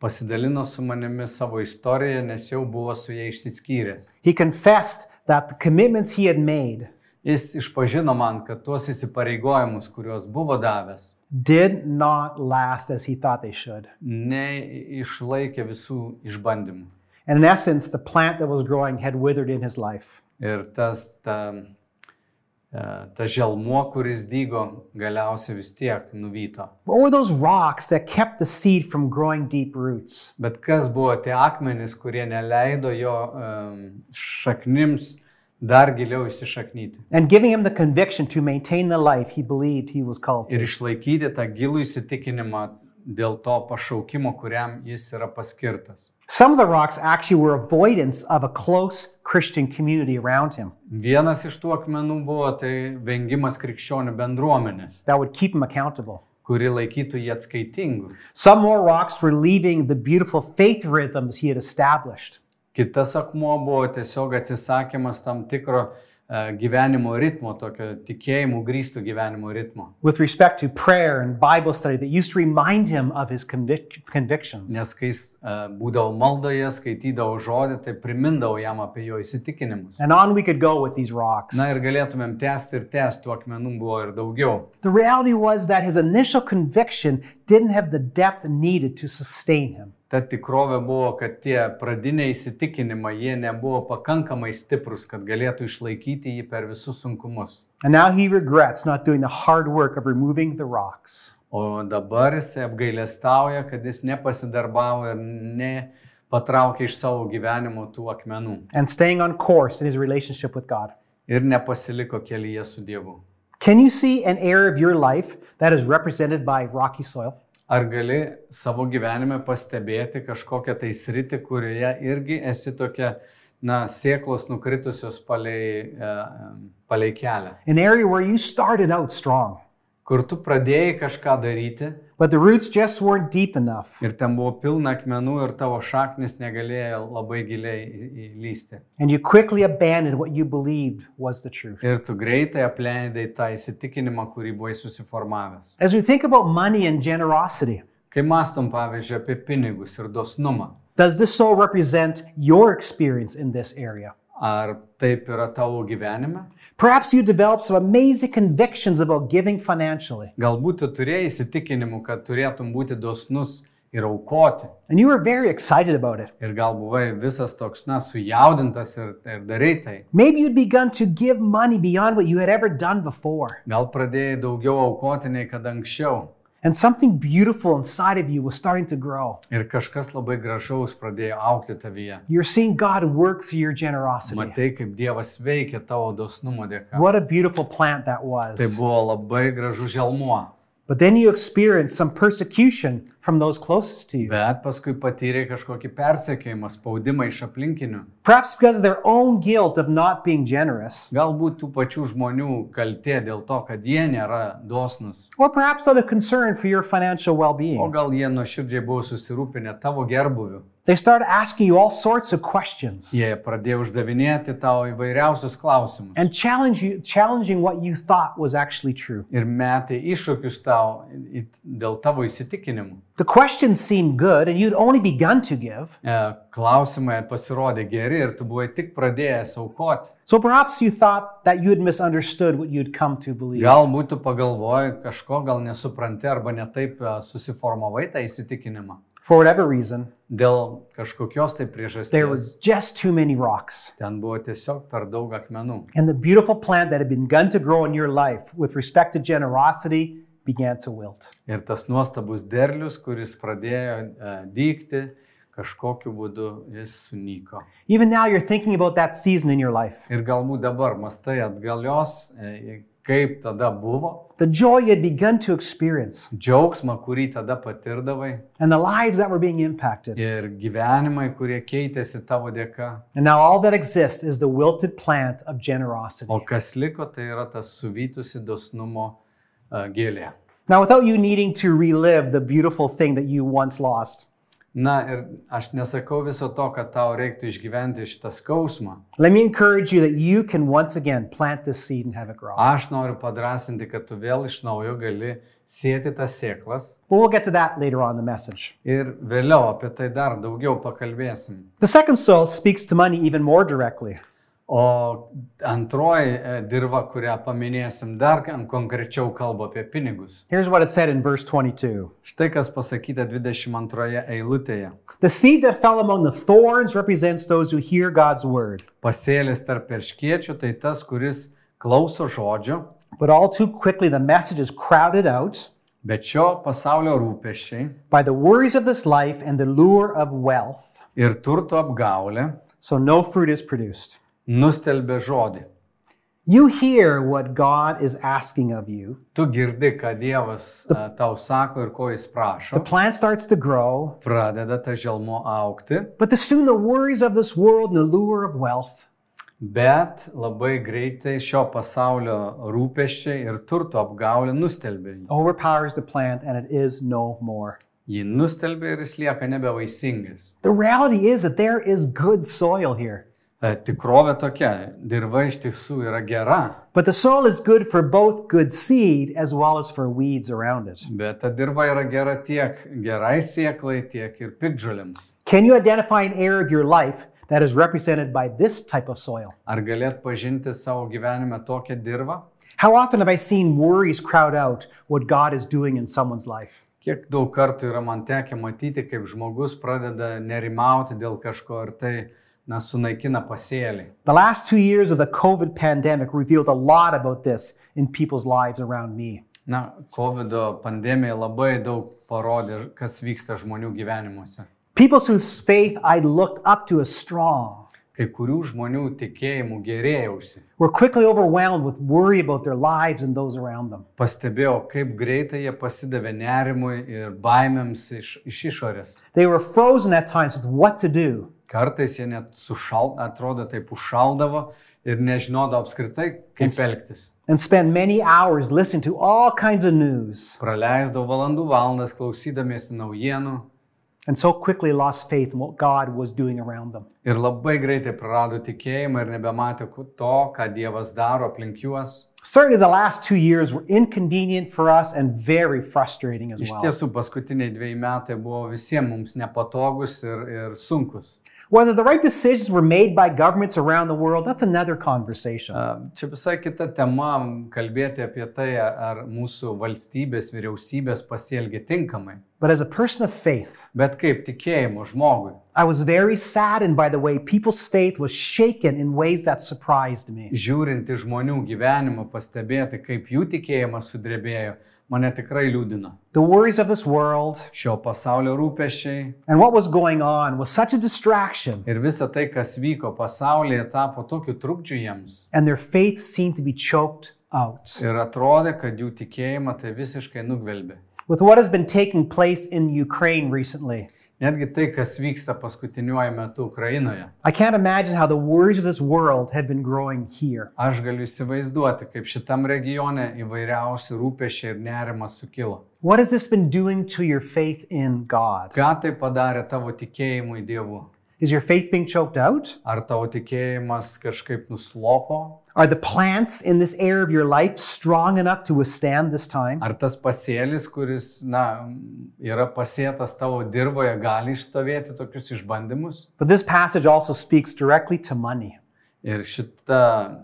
Speaker 3: pasidalino su manimi savo istoriją, nes jau buvo su jie išsiskyręs.
Speaker 2: He confessed that the commitments he had made
Speaker 3: Jis išpažino man, kad tuos įsipareigojimus, kuriuos buvo davęs,
Speaker 2: did not last as he thought they should.
Speaker 3: neišlaikė visų išbandymų.
Speaker 2: And in essence, the plant that was growing had withered in his life.
Speaker 3: Ir tas, ta, e, ta želmuo, kuris dygo, galiausiai vis tiek nuvyto.
Speaker 2: What were those rocks that kept the seed from growing deep roots?
Speaker 3: Bet kas buvo tie akmenys, kurie neleido jo um, šaknims dar giliau įsišaknyti
Speaker 2: And giving him the conviction to maintain the life he believed he was called to.
Speaker 3: ir išlaikyti tą gilų įsitikinimą dėl to pašaukimo, kuriam jis yra paskirtas.
Speaker 2: Some of the rocks actually were avoidance of a close Christian community around him
Speaker 3: Vienas iš tų akmenų buvo tai vengimas krikščionių bendruomenės,
Speaker 2: that would keep him accountable.
Speaker 3: kuri laikytų jį atskaitingu.
Speaker 2: Some more rocks were leaving the beautiful faith rhythms he had established.
Speaker 3: Kitas akmuo buvo tiesiog atsisakymas tam tikro e, gyvenimo ritmo, tokio tikėjimų grįstų gyvenimo ritmo.
Speaker 2: with respect to prayer and Bible study that used to remind him of his convic- convictions.
Speaker 3: Nes kai jis e, būdavo maldoje, skaitydavo žodį, tai primindavo jam apie jo įsitikinimus.
Speaker 2: And on we could go with these rocks.
Speaker 3: Na ir galėtumėm tęsti ir tęsti, tų akmenų buvo ir daugiau.
Speaker 2: The reality was that his initial conviction didn't have the depth needed to sustain him.
Speaker 3: Ta tikrovė buvo, kad tie pradiniai įsitikinimai, jie nebuvo pakankamai stiprus, kad galėtų išlaikyti jį per visus sunkumus.
Speaker 2: And now he regrets not doing the hard work of removing the rocks.
Speaker 3: O dabar jis apgailestauja, kad jis nepasidarbavo ir nepatraukė iš savo gyvenimo tų akmenų
Speaker 2: And staying on course in his relationship with God.
Speaker 3: ir nepasiliko kelyje su Dievu.
Speaker 2: Can you see an area of your life that is represented by rocky soil?
Speaker 3: Ar gali savo gyvenime pastebėti kažkokią tai sritį, kurioje irgi esi tokia, na, sėklos nukritusios palei, e, palei kelią,
Speaker 2: an area where you started out strong,
Speaker 3: kur tu pradėjai kažką daryti
Speaker 2: but the roots just weren't deep enough.
Speaker 3: ir ten buvo pilna akmenų ir tavo šaknis negalėjo labai giliai į- įlysti.
Speaker 2: And you quickly abandoned what you believed was the truth.
Speaker 3: Ir tu greitai apleidai tą įsitikinimą, kurį buvai susiformavęs.
Speaker 2: As we think about money and generosity,
Speaker 3: Kai mastom, pavyzdžiui, apie pinigus ir dosnumą,
Speaker 2: does this soul represent your experience in this area?
Speaker 3: ar taip yra tavo gyvenime?
Speaker 2: Perhaps you developed some amazing convictions about giving financially,
Speaker 3: Galbūt tu turėjai įsitikinimų, kad turėtum būti dosnus ir aukoti.
Speaker 2: and you were very excited about it.
Speaker 3: Ir gal buvai visas toks, na, sujaudintas ir, ir darai tai.
Speaker 2: Maybe you'd begun to give money beyond what you had ever done before,
Speaker 3: Gal pradėjai daugiau aukoti nei kad anksčiau.
Speaker 2: and something beautiful inside of you was starting to grow.
Speaker 3: Ir kažkas labai gražaus pradėjo aukti tavyje.
Speaker 2: You're seeing God work through your generosity.
Speaker 3: Matai, kaip Dievas veikia tavo dosnumo dėka.
Speaker 2: What a beautiful plant that was.
Speaker 3: Tai buvo labai gražu želmuo.
Speaker 2: But then you experienced some persecution from those closest to you,
Speaker 3: Bet paskui patyrė kažkokį persekiojimą, spaudimą iš aplinkinių.
Speaker 2: perhaps because of their own guilt of not being generous,
Speaker 3: Galbūt tų pačių žmonių kaltė dėl to, kad jie nėra dosnus.
Speaker 2: or perhaps out of concern for your financial well
Speaker 3: O
Speaker 2: being.
Speaker 3: gal jie nuoširdžiai buvo susirūpinę tavo gerbuviu.
Speaker 2: They started asking you all sorts of questions
Speaker 3: Jie pradėjo uždavinėti tau įvairiausius klausimus.
Speaker 2: and challenge you, challenging what you thought was actually true.
Speaker 3: Ir metė iššūkius tau į- į- dėl tavo įsitikinimų.
Speaker 2: The questions seemed good, and you'd only begun to give,
Speaker 3: E, Klausimai pasirodė geri ir tu buvai tik pradėjęs aukoti.
Speaker 2: so perhaps you thought that you had misunderstood what you'd come to believe.
Speaker 3: Galbūt tu pagalvoji kažko, gal nesupranti arba netaip e, susiformavai tą įsitikinimą.
Speaker 2: For whatever reason,
Speaker 3: Dėl kažkokios tai
Speaker 2: there was
Speaker 3: priežasties.
Speaker 2: just too many rocks.
Speaker 3: Ten buvo tiesiog per daug akmenų.
Speaker 2: And the beautiful plant that had begun to grow in your life with respect to generosity began to wilt.
Speaker 3: Ir tas nuostabus derlius, kuris pradėjo e, dygti, kažkokiu būdu jis sunyko.
Speaker 2: Even now, you're thinking about that season in your life.
Speaker 3: Ir galbūt dabar mastai atgalios, e, į- kaip tada buvo,
Speaker 2: The joy you had begun to experience
Speaker 3: džiaugsmą, kurį tada patirdavai
Speaker 2: and the lives that were being impacted.
Speaker 3: ir gyvenimai, kurie keitėsi tavo dėka.
Speaker 2: And now, all that exists is the wilted plant of generosity.
Speaker 3: O kas liko, tai yra tas suvytusi dosnumo e, gėlė.
Speaker 2: Now, without you needing to relive the beautiful thing that you once lost,
Speaker 3: Na ir aš nesakau viso to, kad tau reiktų išgyventi šitą skausmą.
Speaker 2: let me encourage you that you can once again plant this seed and have it grow.
Speaker 3: Aš noriu padrasinti, kad tu vėl iš naujo gali sėti tas sėklas
Speaker 2: But we'll get to that later on in the message.
Speaker 3: Ir vėliau apie tai dar daugiau pakalbėsim.
Speaker 2: The second soul speaks to money even more directly.
Speaker 3: O antroji e, dirva, kurią paminėsim, dar kan- konkrečiau kalba apie pinigus.
Speaker 2: Here's what it said in verse 22.
Speaker 3: Štai kas pasakyta 22 eilutėje.
Speaker 2: The seed that fell among the thorns represents those who hear God's word,
Speaker 3: Pasėlis tarp perškiečių tai tas, kuris klauso žodžio,
Speaker 2: but all too quickly the message is crowded out
Speaker 3: bet šio pasaulio rūpeščiai
Speaker 2: by the worries of this life and the lure of wealth,
Speaker 3: ir turto apgaulė
Speaker 2: so no fruit is produced.
Speaker 3: nustelbė žodį.
Speaker 2: You hear what God is asking of you.
Speaker 3: Tu girdi, ką Dievas e, tau sako ir ko jis
Speaker 2: The
Speaker 3: prašo.
Speaker 2: plant starts to grow,
Speaker 3: Pradeda ta želmo aukti.
Speaker 2: but the, soon the worries of this world and the lure of wealth
Speaker 3: Bet labai greitai šio pasaulio rūpeščiai ir turto apgaulė nustelbė jį.
Speaker 2: overpowers the plant and it is no more.
Speaker 3: Jį nustelbė ir jis lieka nebevaisingas.
Speaker 2: The reality is that there is good soil here,
Speaker 3: E, Tikrovė tokia, dirba iš tiesų yra gera,
Speaker 2: but the soil is good for both good seed as well as for weeds around it.
Speaker 3: bet ta dirba yra gera tiek gerai sieklai, tiek ir pikdžiuliams.
Speaker 2: Can you identify an area of your life that is represented by this type of soil?
Speaker 3: Ar galėt pažinti savo gyvenime tokią dirvą?
Speaker 2: How often have I seen worries crowd out what God is doing in someone's life?
Speaker 3: Kiek daug kartų yra man tekę matyti, kaip žmogus pradeda nerimauti dėl kažko ir tai na, sunaikina pasėlį.
Speaker 2: The last two years of the COVID pandemic revealed a lot about this in people's lives around me.
Speaker 3: Na, COVID pandemija labai daug parodė, kas vyksta žmonių gyvenimuose.
Speaker 2: People whose faith I looked up to as strong
Speaker 3: kai kurių žmonių tikėjimų gerėjausi.
Speaker 2: We're quickly overwhelmed with worry about their lives and those around them.
Speaker 3: Pastebėjau, kaip greitai jie pasidavė nerimui ir baimėms iš, iš išorės.
Speaker 2: They were frozen at times with what to do.
Speaker 3: Kartais jie net sušal, atrodo taip užšaldavo ir nežinodavo apskritai, kaip
Speaker 2: Ins-
Speaker 3: elgtis.
Speaker 2: and spend many hours listening to all kinds of news
Speaker 3: Praleisdavo valandų valandas klausydamiesi naujienų
Speaker 2: and so quickly lost faith in what God was doing around them.
Speaker 3: ir labai greitai prarado tikėjimą ir nebematė ku- to, ką Dievas daro aplink juos.
Speaker 2: Certainly, the last two years were inconvenient for us and very frustrating as
Speaker 3: Iš
Speaker 2: well.
Speaker 3: tiesų, paskutiniai dviejai metai buvo visiems mums nepatogus ir, ir sunkus.
Speaker 2: Whether the right decisions were made by governments around the world, that's another conversation.
Speaker 3: A, Čia visai kita tema kalbėti apie tai, ar mūsų valstybės, vyriausybės pasielgia tinkamai.
Speaker 2: But as a person of faith,
Speaker 3: Bet kaip tikėjimo žmogui.
Speaker 2: I was very saddened by the way people's faith was shaken in ways that surprised me.
Speaker 3: Žiūrint į žmonių gyvenimą, pastebėti, kaip jų tikėjimas sudrebėjo, mane tikrai liūdina.
Speaker 2: The worries of this world
Speaker 3: Šio pasaulio rūpeščiai
Speaker 2: and what was going on was such a distraction,
Speaker 3: ir visa tai, kas vyko pasaulyje, tapo tokiu trukdžiu jiems.
Speaker 2: and their faith seemed to be choked out.
Speaker 3: Ir atrodė, kad jų tikėjimą tai visiškai nugvelbė.
Speaker 2: with what has been taking place in Ukraine recently.
Speaker 3: Netgi tai, kas vyksta paskutiniuoju metu Ukrainoje.
Speaker 2: I can't imagine how the worries of this world have been growing here.
Speaker 3: Aš galiu įsivaizduoti, kaip šitam regione įvairiausi rūpešiai ir nerimas sukilo.
Speaker 2: What has this been doing to your faith in God?
Speaker 3: Ką tai padarė tavo tikėjimui Dievu?
Speaker 2: Is your faith being choked out?
Speaker 3: Ar tavo tikėjimas kažkaip nuslopo?
Speaker 2: Are the plants in this area of your life strong enough to withstand this time?
Speaker 3: Ar tas pasėlis, kuris na, yra pasėtas tavo dirboje, gali išstovėti tokius išbandymus?
Speaker 2: But this passage also speaks directly to money.
Speaker 3: Ir šita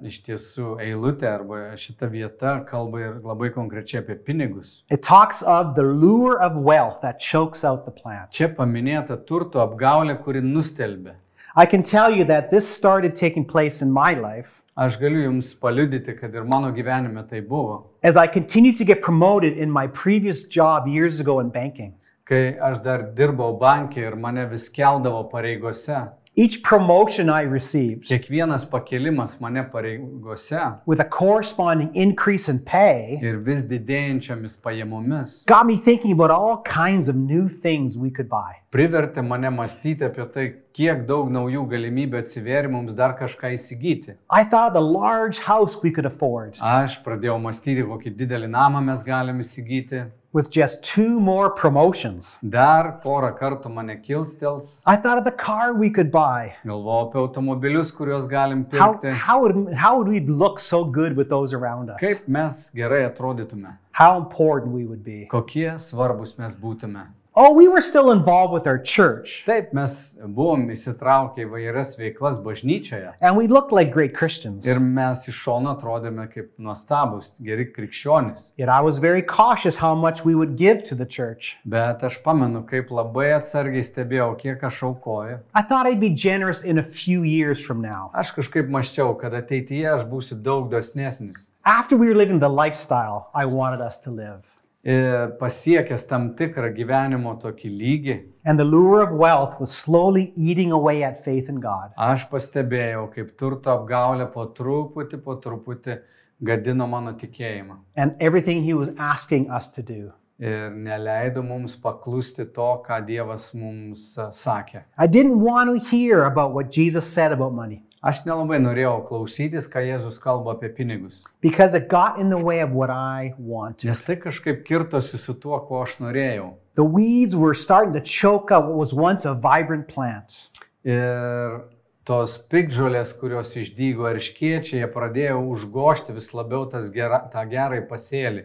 Speaker 3: iš tiesų eilutė arba šita vieta kalba ir labai konkrečiai apie pinigus.
Speaker 2: It talks of the lure of wealth that chokes out the plant.
Speaker 3: Čia paminėta turto apgaulė, kuri nustelbė.
Speaker 2: I can tell you that this started taking place in my life
Speaker 3: Aš galiu Jums paliudyti, kad ir mano gyvenime tai buvo.
Speaker 2: as I continued to get promoted in my previous job years ago in banking.
Speaker 3: Kai aš dar dirbau bankė ir mane vis keldavo pareigose,
Speaker 2: Each promotion I received
Speaker 3: kiekvienas pakelimas mane pareigose
Speaker 2: with a corresponding increase in pay
Speaker 3: ir vis didėjančiomis pajamomis
Speaker 2: got me thinking about all kinds of new things we could buy.
Speaker 3: privertė mane mąstyti apie tai, kiek daug naujų galimybių atsivėrė mums dar kažką įsigyti.
Speaker 2: I thought the large house we could afford
Speaker 3: Aš pradėjau mąstyti, kokį didelį namą mes galim įsigyti.
Speaker 2: with just two more promotions.
Speaker 3: Dar porą kartų mane kilstels.
Speaker 2: I thought of the car we could buy.
Speaker 3: Galvoju apie automobilius, kuriuos galim
Speaker 2: How,
Speaker 3: pirkti.
Speaker 2: how, would, how would we look so good with those around us?
Speaker 3: Kaip mes gerai atrodytume,
Speaker 2: How important we would be.
Speaker 3: kokie svarbus mes būtume.
Speaker 2: Oh, we were still involved with our church
Speaker 3: Taip, mes buvom įsitraukę į vairias veiklas bažnyčioje
Speaker 2: and we looked like great Christians.
Speaker 3: ir mes iš šono atrodėme kaip nuostabus, geri krikščionys.
Speaker 2: Yet I was very cautious how much we would give to the church.
Speaker 3: Bet aš pamenu, kaip labai atsargiai stebėjau, kiek aš aukoju.
Speaker 2: I thought I'd be generous in a few years from now.
Speaker 3: Aš kažkaip maščiau, kad ateityje aš būsiu daug dosnesnis.
Speaker 2: After we were living the lifestyle I wanted us to live.
Speaker 3: Ir pasiekęs tam tikrą gyvenimo tokį lygį,
Speaker 2: And the lure of wealth was slowly eating away at faith in God.
Speaker 3: aš pastebėjau, kaip turto apgaulė po truputį, po truputį gadino mano tikėjimą.
Speaker 2: And everything He was asking us to do.
Speaker 3: ir neleido mums paklusti to, ką Dievas mums a, sakė.
Speaker 2: I didn't want to hear about what Jesus said about money
Speaker 3: Aš nelabai norėjau klausytis, ką Jėzus kalba apie pinigus,
Speaker 2: because it got in the way of what I wanted.
Speaker 3: nes tai kažkaip kirtosi su tuo, ko aš norėjau.
Speaker 2: The weeds were starting to choke out what was once a vibrant plant.
Speaker 3: Ir tos pikžolės, kurios išdygo erškiečiai, jie pradėjo užgošti vis labiau tas gera, tą gerąjį pasėlį.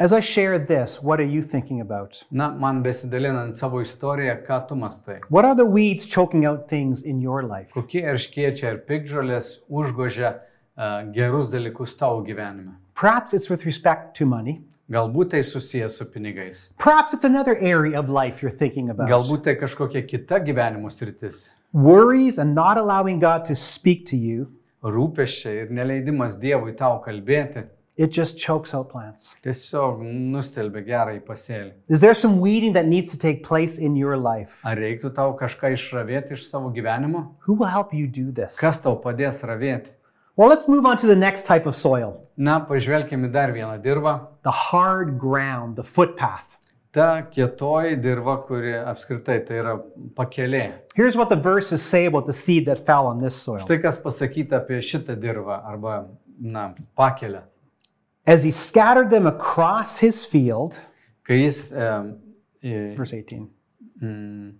Speaker 2: As I share this, what are you thinking about?
Speaker 3: Na, man besidalinant savo istoriją, ką tu mastai?
Speaker 2: What are the weeds choking out things in your life?
Speaker 3: Kokie erškiečiai ir pikžolės užgožia a, gerus dalykus tavo gyvenime?
Speaker 2: Perhaps it's with respect to money.
Speaker 3: Galbūt tai susijęs su pinigais.
Speaker 2: Perhaps it's another area of life you're thinking about.
Speaker 3: Galbūt tai kažkokia kita gyvenimo sritis.
Speaker 2: Worries and not allowing God to speak to you
Speaker 3: Rūpeščiai ir neleidimas Dievui tau kalbėti.
Speaker 2: it just chokes out plants.
Speaker 3: Tiesiog nustelbė gerą į pasėlį.
Speaker 2: Is there some weeding that needs to take place in your life?
Speaker 3: Ar reiktų tau kažką išravėti iš savo gyvenimo?
Speaker 2: Who will help you do this?
Speaker 3: Kas tau padės ravėti?
Speaker 2: Well, let's move on to the next type of soil
Speaker 3: Na, pažvelkime į dar vieną dirbą.
Speaker 2: the hard ground, the footpath.
Speaker 3: Ta kietoji dirba, kuri apskritai tai yra pakelė.
Speaker 2: Here's what the verses say about the seed that fell on this soil.
Speaker 3: Štai Tai kas pasakyta apie šitą dirbą arba, na, pakelę.
Speaker 2: As he scattered them across his field,
Speaker 3: Kai jis, e, e,
Speaker 2: verse 18,
Speaker 3: Mm.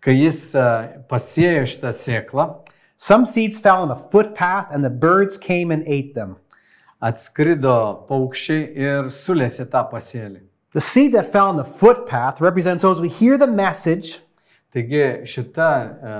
Speaker 3: Kai jis e, pasėjo šitą sėklą,
Speaker 2: some seeds fell on the footpath and the birds came and ate them.
Speaker 3: atskrido paukščiai ir sulėsi tą pasėlį.
Speaker 2: The seed that fell on the footpath represents those who hear the message
Speaker 3: Taigi šita e,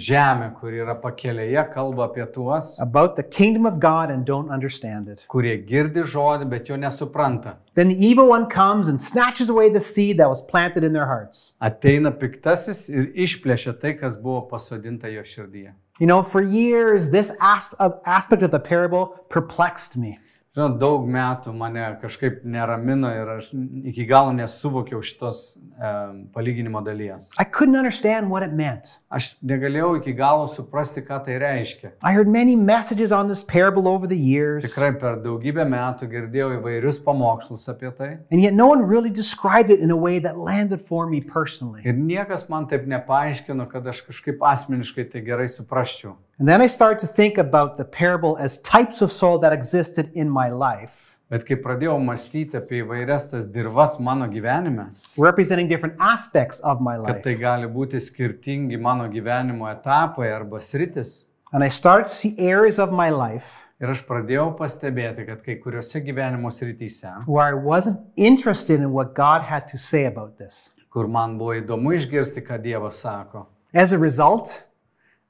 Speaker 3: žemė, kur yra pakelėje, kalba apie tuos,
Speaker 2: about the kingdom of God and don't understand it.
Speaker 3: kurie girdi žodį, bet jo nesupranta.
Speaker 2: Then the evil one comes and snatches away the seed that was planted in their hearts.
Speaker 3: Ateina piktasis ir išplėšia tai, kas buvo pasodinta jo širdyje.
Speaker 2: You know, for years, this asp- of- aspect of the parable perplexed me.
Speaker 3: Žinau, daug metų mane kažkaip neramino ir aš iki galo nesuvokiau šitos e, palyginimo dalies.
Speaker 2: I couldn't understand what it meant.
Speaker 3: Aš negalėjau iki galo suprasti, ką tai reiškia.
Speaker 2: I heard many messages on this parable over the years,
Speaker 3: Tikrai per daugybę metų girdėjau įvairius pamokslus apie tai
Speaker 2: and yet no one really described it in a way that landed for me personally.
Speaker 3: ir niekas man taip nepaaiškino, kad aš kažkaip asmeniškai tai gerai suprasčiau.
Speaker 2: And then I started to think about the parable as types of soil that existed in my life,
Speaker 3: Bet kai pradėjau mąstyti apie įvairias tas dirvas mano gyvenime,
Speaker 2: representing different aspects of my
Speaker 3: kad
Speaker 2: life.
Speaker 3: tai gali būti skirtingi mano gyvenimo etapai arba sritis,
Speaker 2: And I started to see areas of my life
Speaker 3: ir aš pradėjau pastebėti, kad kai kuriuose gyvenimo srityse,
Speaker 2: where I wasn't interested in what God had to say about this.
Speaker 3: kur man buvo įdomu išgirsti, ką Dievas sako,
Speaker 2: As a result,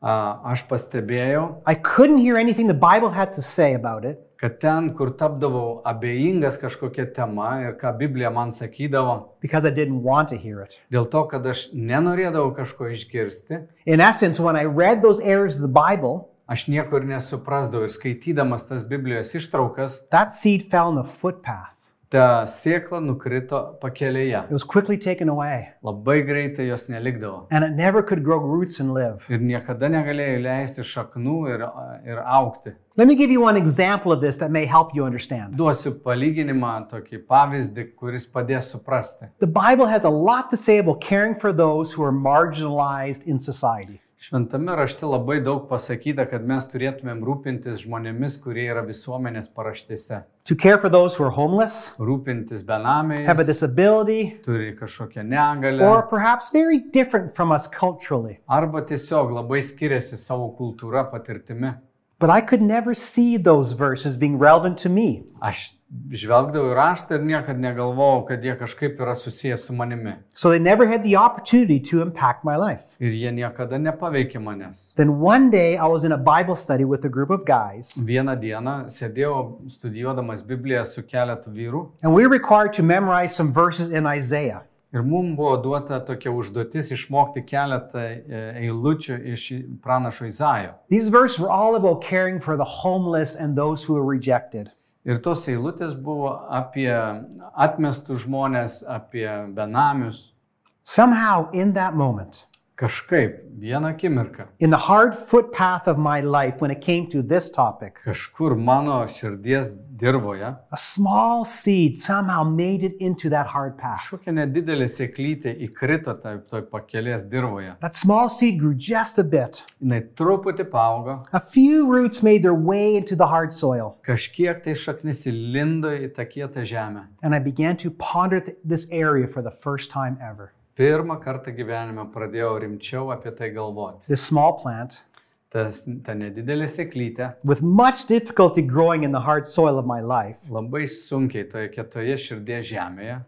Speaker 3: a, aš pastebėjau,
Speaker 2: I couldn't hear anything the Bible had to say about it,
Speaker 3: kad ten, kur tapdavau abejingas kažkokia tema ir ką Biblija man sakydavo,
Speaker 2: because I didn't want to hear it.
Speaker 3: dėl to, kad aš nenorėdavau kažko išgirsti,
Speaker 2: In essence, when I read those areas of the Bible,
Speaker 3: aš nieko ir nesuprasdavau. Ir skaitydamas tas Biblijos ištraukas,
Speaker 2: that seed fell on the footpath.
Speaker 3: ta sėkla nukrito pakelėje.
Speaker 2: It was quickly taken away,
Speaker 3: Labai greitai jos nelikdavo.
Speaker 2: and it never could grow roots and live.
Speaker 3: Ir niekada negalėjau leisti šaknų ir, ir aukti.
Speaker 2: Let me give you one example of this that may help you understand.
Speaker 3: Duosiu palyginimą, tokį pavyzdį, kuris padės suprasti.
Speaker 2: The Bible has a lot to say about caring for those who are marginalized in society.
Speaker 3: Šventame rašte labai daug pasakyta, kad mes turėtumėm rūpintis žmonėmis, kurie yra visuomenės paraštėse.
Speaker 2: To care for those who are homeless,
Speaker 3: Rūpintis
Speaker 2: have a
Speaker 3: benamiais,
Speaker 2: disability,
Speaker 3: turi kažkokią
Speaker 2: or
Speaker 3: negalę.
Speaker 2: perhaps very different from us culturally.
Speaker 3: Arba tiesiog labai skiriasi savo kultūra patirtimi.
Speaker 2: But I could never see those verses being relevant to me.
Speaker 3: Aš žvelgdavau į raštą ir niekad negalvojau, kad jie kažkaip yra susijęs su manimi.
Speaker 2: So they never had the opportunity to impact my life.
Speaker 3: Ir jie niekada nepaveikė manęs.
Speaker 2: Then one day I was in a Bible study with a group of guys,
Speaker 3: Vieną dieną sėdėjau studijuodamas Bibliją su keletu vyrų
Speaker 2: and we were required to memorize some verses in Isaiah.
Speaker 3: ir mums buvo duota tokia užduotis išmokti keletą e, eilučių iš pranašo Izaijo.
Speaker 2: These verses were all about caring for the homeless and those who are rejected.
Speaker 3: Ir tos eilutės buvo apie atmestų žmonės, apie benamius.
Speaker 2: Somehow, in that moment,
Speaker 3: Kažkaip, vieną akimirką,
Speaker 2: in the hard footpath of my life, when it came to this topic,
Speaker 3: kažkur mano širdies dirboje
Speaker 2: a small seed somehow made it into that hard path.
Speaker 3: kažkokia nedidelė sėklytė įkrito toj, toj pakelės dirboje.
Speaker 2: That small seed grew just a bit.
Speaker 3: Jis truputį paaugo,
Speaker 2: A few roots made their way into the hard soil.
Speaker 3: kažkiek tai šaknis įlindo į tą kietą žemę.
Speaker 2: and I began to ponder th- this area for the first time ever.
Speaker 3: Pirmą kartą gyvenime pradėjau rimčiau apie tai galvoti.
Speaker 2: This small plant,
Speaker 3: Tas, ta nedidelė sėklytė
Speaker 2: with much difficulty growing in the hard soil of my life,
Speaker 3: labai sunkiai toje kietoje širdies žemėje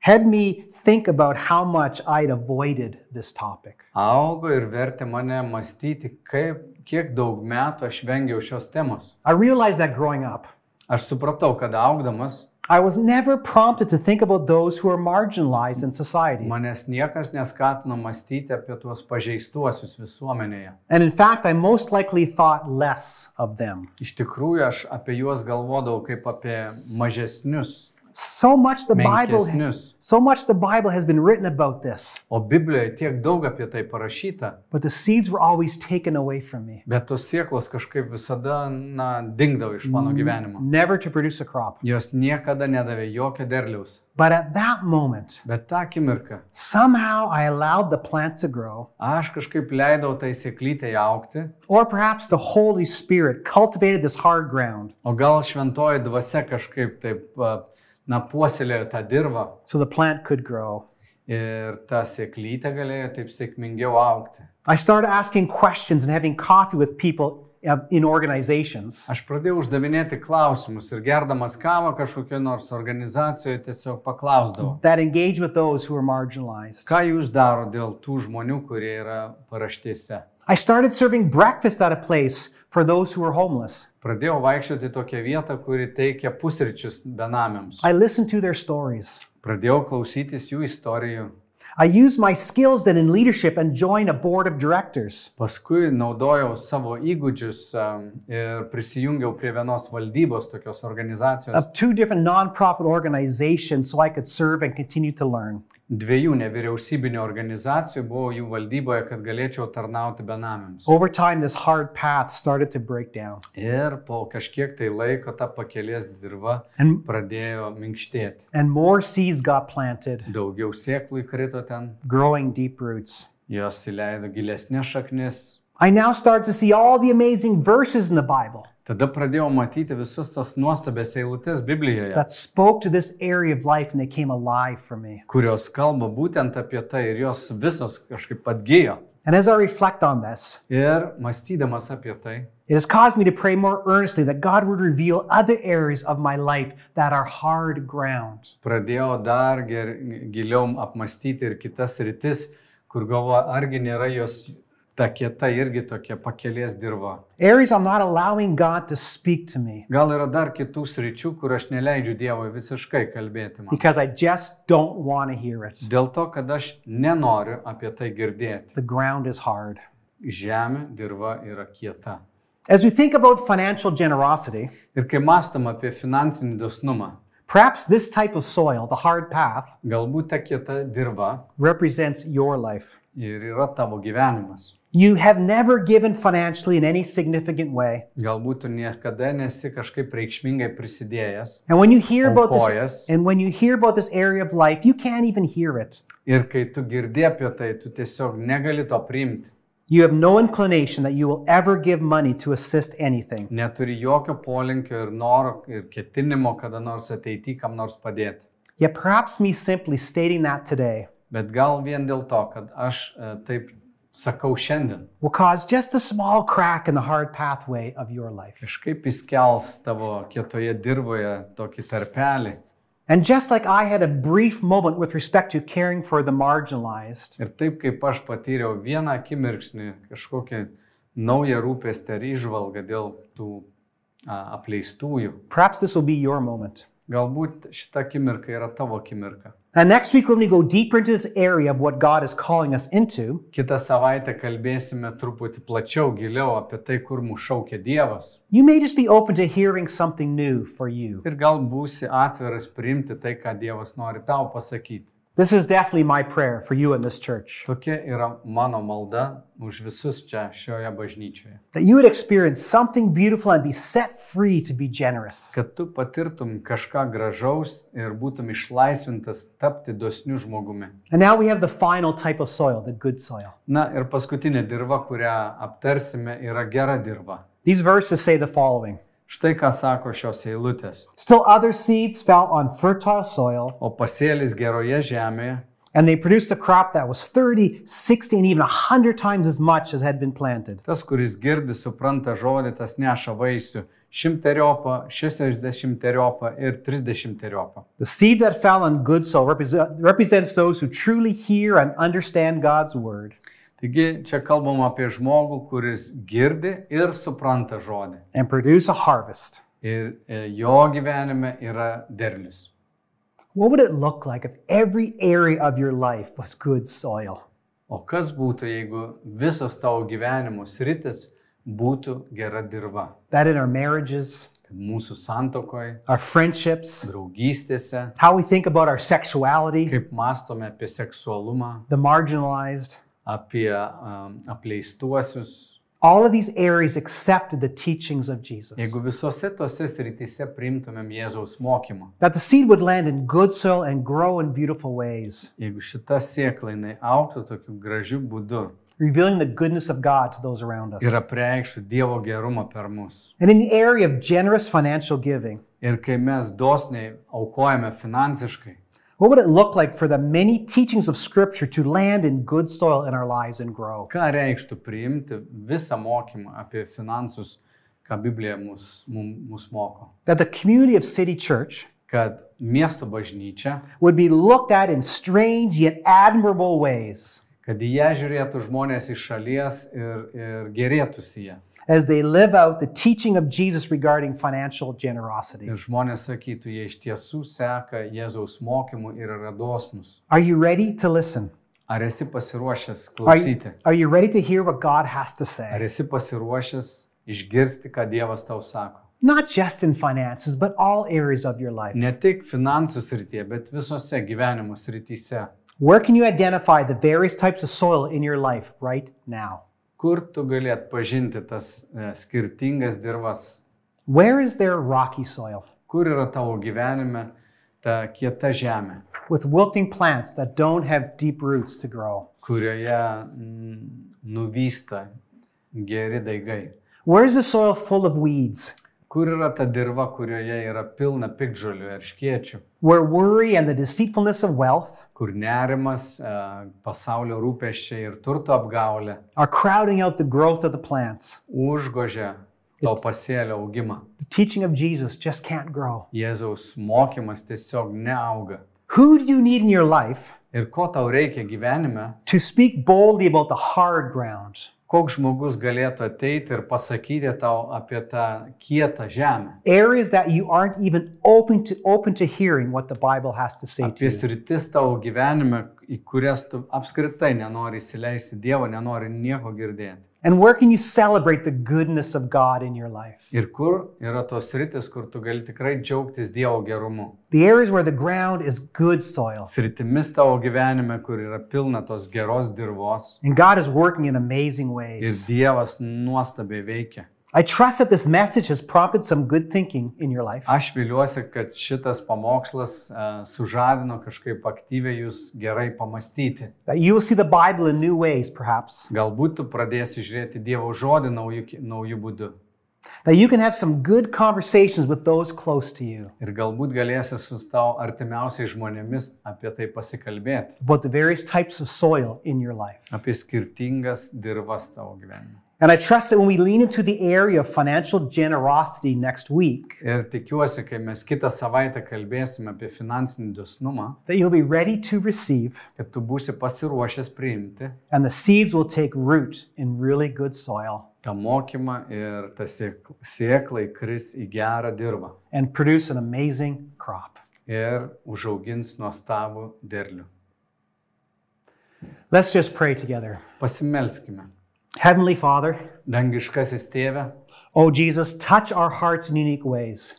Speaker 2: had me think about how much I'd avoided this topic.
Speaker 3: augo ir vertė mane mąstyti, kaip, kiek daug metų aš vengiau šios temos.
Speaker 2: I realized that growing up,
Speaker 3: Aš supratau, kad augdamas
Speaker 2: I was never prompted to think about those who are marginalized in society.
Speaker 3: Manęs niekas neskatino mąstyti apie tuos pažeistuosius visuomenėje.
Speaker 2: And in fact, I most likely thought less of them.
Speaker 3: Iš tikrųjų, aš apie juos galvodavau kaip apie mažesnius,
Speaker 2: So much the Bible
Speaker 3: menkesnius.
Speaker 2: so much the Bible has been written about this,
Speaker 3: O Biblijoje tiek daug apie tai parašyta,
Speaker 2: but the seeds were always taken away from me,
Speaker 3: bet tos sieklos kažkaip visada, na, dingdavo iš mano
Speaker 2: Mm-hmm.
Speaker 3: gyvenimo.
Speaker 2: never to produce a crop.
Speaker 3: Jos niekada nedavė jokio derliaus.
Speaker 2: But at that moment,
Speaker 3: Bet tą akimirką
Speaker 2: somehow I allowed the plant to grow,
Speaker 3: aš kažkaip leidau tai sėklytei aukti,
Speaker 2: or perhaps the Holy Spirit cultivated this hard ground
Speaker 3: o gal šventoji dvasia kažkaip taip, a, na, puoselėjo tą dirvą
Speaker 2: so the plant could grow.
Speaker 3: ir ta sėklytė galėjo taip sėkmingiau aukti.
Speaker 2: I started asking questions and having coffee with people uh, in organizations.
Speaker 3: Aš pradėjau uždavinėti klausimus ir gerdamas kavą kažkokioje nors organizacijoje tiesiog paklausdavau,
Speaker 2: that engage with those who are marginalized.
Speaker 3: ką jūs daro dėl tų žmonių, kurie yra paraštėse.
Speaker 2: I started serving breakfast at a place for those who were homeless.
Speaker 3: Pradėjau vaikščioti į tokią vietą, kuri teikia pusryčius benamiams.
Speaker 2: I listened to their stories.
Speaker 3: Pradėjau klausytis jų istorijų.
Speaker 2: I used my skills then in leadership and joined a board of directors.
Speaker 3: Paskui naudojau savo įgūdžius em, ir prisijungiau prie vienos valdybos tokios organizacijos,
Speaker 2: Of two different nonprofit organizations, so I could serve and continue to learn.
Speaker 3: dviejų nevyriausybinio organizacijų, buvau jų valdyboje, kad galėčiau tarnauti benamiams.
Speaker 2: Over time, this hard path started to break down.
Speaker 3: Ir po kažkiek tai laiko ta pakelės dirba
Speaker 2: And,
Speaker 3: pradėjo minkštėti.
Speaker 2: and more seeds got planted,
Speaker 3: Daugiau sėklų įkrito ten,
Speaker 2: growing deep roots.
Speaker 3: jos įleido gilesnės šaknis.
Speaker 2: I now started to see all the amazing verses in the Bible
Speaker 3: Tada pradėjau matyti visus tos nuostabės eilutės Biblijoje,
Speaker 2: that spoke to this area of life and they came alive for me.
Speaker 3: kurios kalba būtent apie tai ir jos visos kažkaip atgyjo.
Speaker 2: And as I reflect on this,
Speaker 3: Ir mąstydamas apie tai,
Speaker 2: It has caused me to pray more earnestly that God would reveal other areas of my life that are hard ground.
Speaker 3: pradėjau dar ger, giliau apmastyti ir kitas rytis, kur galvoju, argi nėra jos ta kieta irgi tokia pakelės dirba.
Speaker 2: Areas I'm not allowing God to speak to me
Speaker 3: Gal yra dar kitų sričių, kur aš neleidžiu Dievui visiškai kalbėti man.
Speaker 2: because I just don't want to hear it.
Speaker 3: Dėl to, kad aš nenoriu apie tai girdėti.
Speaker 2: The ground is hard.
Speaker 3: Žemė, dirba yra kieta.
Speaker 2: As we think about financial generosity,
Speaker 3: Ir kai mastom apie finansinį dosnumą,
Speaker 2: perhaps this type of soil, the hard path,
Speaker 3: galbūt ta kieta dirba
Speaker 2: represents your life.
Speaker 3: ir yra tavo gyvenimas.
Speaker 2: You have never given financially in any significant way.
Speaker 3: Galbūt tu niekada nesi kažkaip reikšmingai prisidėjęs.
Speaker 2: And when you hear about this
Speaker 3: Aukojas.
Speaker 2: and when you hear about this area of life, you can't even hear it.
Speaker 3: Ir kai tu girdė apie tai, tu tiesiog negali to priimti.
Speaker 2: You have no inclination that you will ever give money to assist anything.
Speaker 3: Neturi jokio polinkio ir noro ir ketinimo kada nors ateityje kam nors padėti.
Speaker 2: Yet perhaps me simply stating that today
Speaker 3: Bet gal vien dėl to, kad aš e, taip sakau šiandien,
Speaker 2: will cause just a small crack in the hard pathway of your life.
Speaker 3: kažkaip įskels tavo kietoje dirboje tokį tarpelį.
Speaker 2: And just like I had a brief moment with respect to caring for the marginalized,
Speaker 3: Ir taip kaip aš patyriau vieną akimirksnį kažkokią naują rūpestį ar išvalgą dėl tų a, apleistųjų,
Speaker 2: perhaps this will be your moment.
Speaker 3: galbūt šita akimirka yra tavo akimirka.
Speaker 2: And next week, when we go deeper into this area of what God is calling us into,
Speaker 3: Kita savaitę kalbėsime truputį plačiau, giliau apie tai, kur mūsų šaukia Dievas.
Speaker 2: you may just be open to hearing something new for you.
Speaker 3: Ir gal būsi atviras priimti tai, ką Dievas nori tau pasakyti.
Speaker 2: This is definitely my prayer for you in this church
Speaker 3: Tokia yra mano malda už visus čia šioje bažnyčioje.
Speaker 2: that you would experience something beautiful and be set free to be generous.
Speaker 3: Kad tu patirtum kažką gražaus ir būtum išlaisvintas tapti dosniu žmogumi.
Speaker 2: And now we have the final type of soil, the good soil.
Speaker 3: Na ir paskutinė dirba, kurią aptarsime, yra gera dirba.
Speaker 2: These verses say the following
Speaker 3: Štai ką sako šios eilutės.
Speaker 2: Still other seeds fell on fertile soil,
Speaker 3: O pasėlis geroje žemėje
Speaker 2: and they produced a crop that was 30, 60, and even 100 times as much as had been planted.
Speaker 3: Tas, kuris girdi, supranta žodį, tas neša vaisių šimteriopą, šešiasdešimteriopą ir trisdešimteriopą.
Speaker 2: The seed that fell on good soil represent, represents those who truly hear and understand God's word
Speaker 3: Taigi čia kalbam apie žmogų, kuris girdi ir supranta žodį
Speaker 2: and produce a harvest.
Speaker 3: ir e, jo gyvenime yra derlius.
Speaker 2: What would it look like if every area of your life was good soil?
Speaker 3: O kas būtų, jeigu visos tavo gyvenimo sritis būtų gera dirba?
Speaker 2: That in our marriages,
Speaker 3: Kad mūsų santokoje,
Speaker 2: our friendships,
Speaker 3: draugystėse,
Speaker 2: how we think about our sexuality,
Speaker 3: kaip mastome apie seksualumą,
Speaker 2: the marginalized,
Speaker 3: apie um, apleistuosius.
Speaker 2: all of these areas accepted the teachings of Jesus.
Speaker 3: Jeigu visose tose srityse priimtumėm Jėzaus mokymą,
Speaker 2: That the seed would land in good soil and grow in beautiful ways,
Speaker 3: jeigu šita sėkla jinai auktų tokiu gražiu būdu
Speaker 2: revealing the goodness of God to those around us.
Speaker 3: ir apreikštų Dievo gerumą per mus.
Speaker 2: And in the area of generous financial giving,
Speaker 3: Ir kai mes dosniai aukojame finansiškai,
Speaker 2: what would it look like for the many teachings of Scripture to land in good soil in our lives and grow?
Speaker 3: ką reikštų priimti visą mokymą apie finansus, ką Biblija mus, mum, mus moko.
Speaker 2: That the community of City Church
Speaker 3: Kad miesto bažnyčia,
Speaker 2: would be looked at in strange yet admirable ways
Speaker 3: kad į ją žiūrėtų žmonės iš šalies ir, ir gerėtųsi ją.
Speaker 2: as they live out the teaching of Jesus regarding financial generosity.
Speaker 3: Ir žmonės sakytų, jie iš tiesų seka Jėzaus mokymu ir yra dosnus.
Speaker 2: Are you ready to listen?
Speaker 3: Ar esi pasiruošęs
Speaker 2: Are you,
Speaker 3: klausyti?
Speaker 2: are you ready to hear what God has to
Speaker 3: Ar
Speaker 2: say?
Speaker 3: esi pasiruošęs išgirsti, ką Dievas tau sako?
Speaker 2: Not just in finances, but all areas of your life.
Speaker 3: Ne tik finansų srityje, bet visose gyvenimo srityse.
Speaker 2: Where can you identify the various types of soil in your life right now?
Speaker 3: Kur tu galėt pažinti tas e, skirtingas dirvas?
Speaker 2: Where is there rocky soil
Speaker 3: Kur yra tavo gyvenime ta kieta žemė,
Speaker 2: with wilting plants that don't have deep roots to grow?
Speaker 3: kurioje mm, nuvysta geri daigai?
Speaker 2: Where is the soil full of weeds
Speaker 3: Kur yra ta dirva, kurioje yra pilna pikdžolių ir škiečių?
Speaker 2: where worry and the deceitfulness of wealth
Speaker 3: kur nerimas, e, pasaulio rūpeščiai ir turto apgaulė
Speaker 2: are crowding out the growth of the plants?
Speaker 3: užgožia to pasėlio augimą.
Speaker 2: The teaching of Jesus just can't grow.
Speaker 3: Jėzaus mokymas tiesiog neauga.
Speaker 2: Who do you need in your life
Speaker 3: Ir ko tau reikia gyvenime,
Speaker 2: to speak boldly about the hard ground,
Speaker 3: koks žmogus galėtų ateiti ir pasakyti tau apie tą kietą žemę,
Speaker 2: areas that you aren't even open to open to hearing what the Bible has to say to
Speaker 3: apie
Speaker 2: you.
Speaker 3: sritis tavo gyvenime, į kurias tu apskritai nenori įsileisti Dievo, nenori nieko girdėti.
Speaker 2: And where can you celebrate the goodness of God in your life?
Speaker 3: Ir kur yra tos sritis, kur tu gali tikrai džiaugtis Dievo gerumu.
Speaker 2: The areas where the ground is good soil
Speaker 3: sritimis tavo gyvenime, kur yra pilna tos geros dirvos
Speaker 2: and God is working in amazing
Speaker 3: ir
Speaker 2: ways.
Speaker 3: Dievas nuostabiai veikia.
Speaker 2: I trust that this message has prompted some good thinking in your life.
Speaker 3: Aš viliuosi, kad šitas pamokslas e, sužadino kažkaip aktyviai jūs gerai pamastyti.
Speaker 2: That you will see the Bible in new ways, perhaps.
Speaker 3: Galbūt tu pradėsi žiūrėti Dievo žodį naujų, ki- naujų būdų
Speaker 2: That you can have some good conversations with those close to you
Speaker 3: ir galbūt galėsi su tavo artimiausiais žmonėmis apie tai pasikalbėti,
Speaker 2: about the various types of soil in your life.
Speaker 3: apie skirtingas dirvas tavo gyvenime.
Speaker 2: And I trust that when we lean into the area of financial generosity next week,
Speaker 3: Ir tikiuosi, kai mes kitą savaitę kalbėsime apie finansinį dosnumą,
Speaker 2: that you'll be ready to receive
Speaker 3: kad tu būsi pasiruošęs priimti
Speaker 2: and the seeds will take root in really good soil
Speaker 3: tą mokymą ir tą sėk- sėklą įkris į gerą dirbą
Speaker 2: and produce an amazing crop.
Speaker 3: ir užaugins nuostabų derlių.
Speaker 2: Let's just pray together.
Speaker 3: Pasimelskime.
Speaker 2: Heavenly Father,
Speaker 3: Dangiškasis tėve,
Speaker 2: oh Jesus, touch our hearts in unique ways.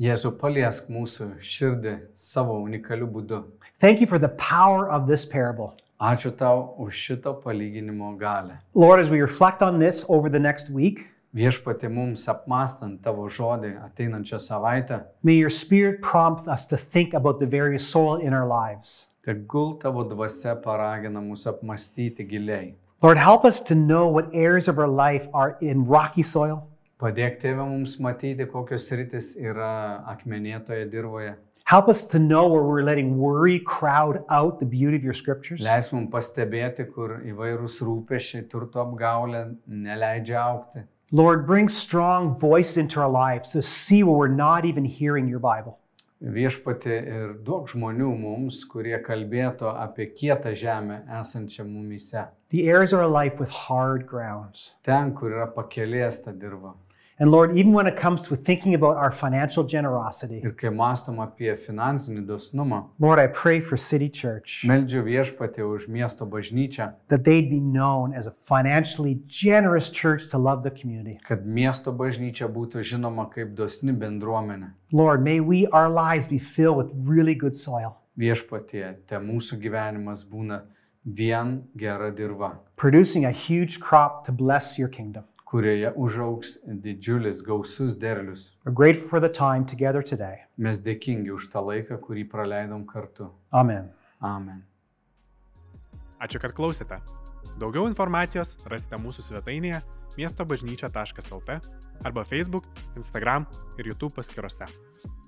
Speaker 3: Jėzu paliesk mūsų širdį savo unikaliu būdu.
Speaker 2: Thank you for the power of this parable.
Speaker 3: Ačiū tau už šito palyginimo galę.
Speaker 2: Lord, as we reflect on this over the next week,
Speaker 3: Viešpatė mums apmastant tavo žodį ateinančią savaitę,
Speaker 2: may your spirit prompt us to think about the various soil in our lives.
Speaker 3: tegul tavo dvasia paragina mus apmastyti giliai.
Speaker 2: Lord, help us to know what areas of our life are in rocky soil.
Speaker 3: Padėk tėvė mums matyti, kokios rytis yra akmenėtoje dirboje.
Speaker 2: Help us to know where we're letting worry crowd out the beauty of your scriptures.
Speaker 3: Leis mums pastebėti, kur įvairūs rūpešiai, turto apgaulė neleidžia aukti.
Speaker 2: Lord, bring strong voice into our lives to see where we're not even hearing your Bible.
Speaker 3: Viešpati ir daug žmonių mums, kurie kalbėtų apie kietą žemę esančią mumyse.
Speaker 2: The areas of our life with hard grounds.
Speaker 3: Ten, kur yra pakelėsta dirba.
Speaker 2: And Lord, even when it comes to thinking about our financial generosity,
Speaker 3: Ir kai mąstom apie finansinį dosnumą,
Speaker 2: Lord, I pray for City Church
Speaker 3: meldžiu viešpatį už miesto bažnyčią,
Speaker 2: that they'd be known as a financially generous church to love the community.
Speaker 3: kad miesto bažnyčia būtų žinoma kaip dosni bendruomenė.
Speaker 2: Lord, may we, our lives, be filled with really good soil,
Speaker 3: Viešpatie, te mūsų gyvenimas būna vien gera dirba,
Speaker 2: producing a huge crop to bless your kingdom.
Speaker 3: kurioje užaugs didžiulis gausus derlius.
Speaker 2: We're grateful for the time together today.
Speaker 3: Mes dėkingi už tą laiką, kurį praleidom kartu.
Speaker 2: Amen.
Speaker 3: Amen.
Speaker 1: Ačiū, kad klausėte. Daugiau informacijos rasite mūsų svetainėje miestobažnyčia.lt arba Facebook, Instagram ir YouTube paskiruose.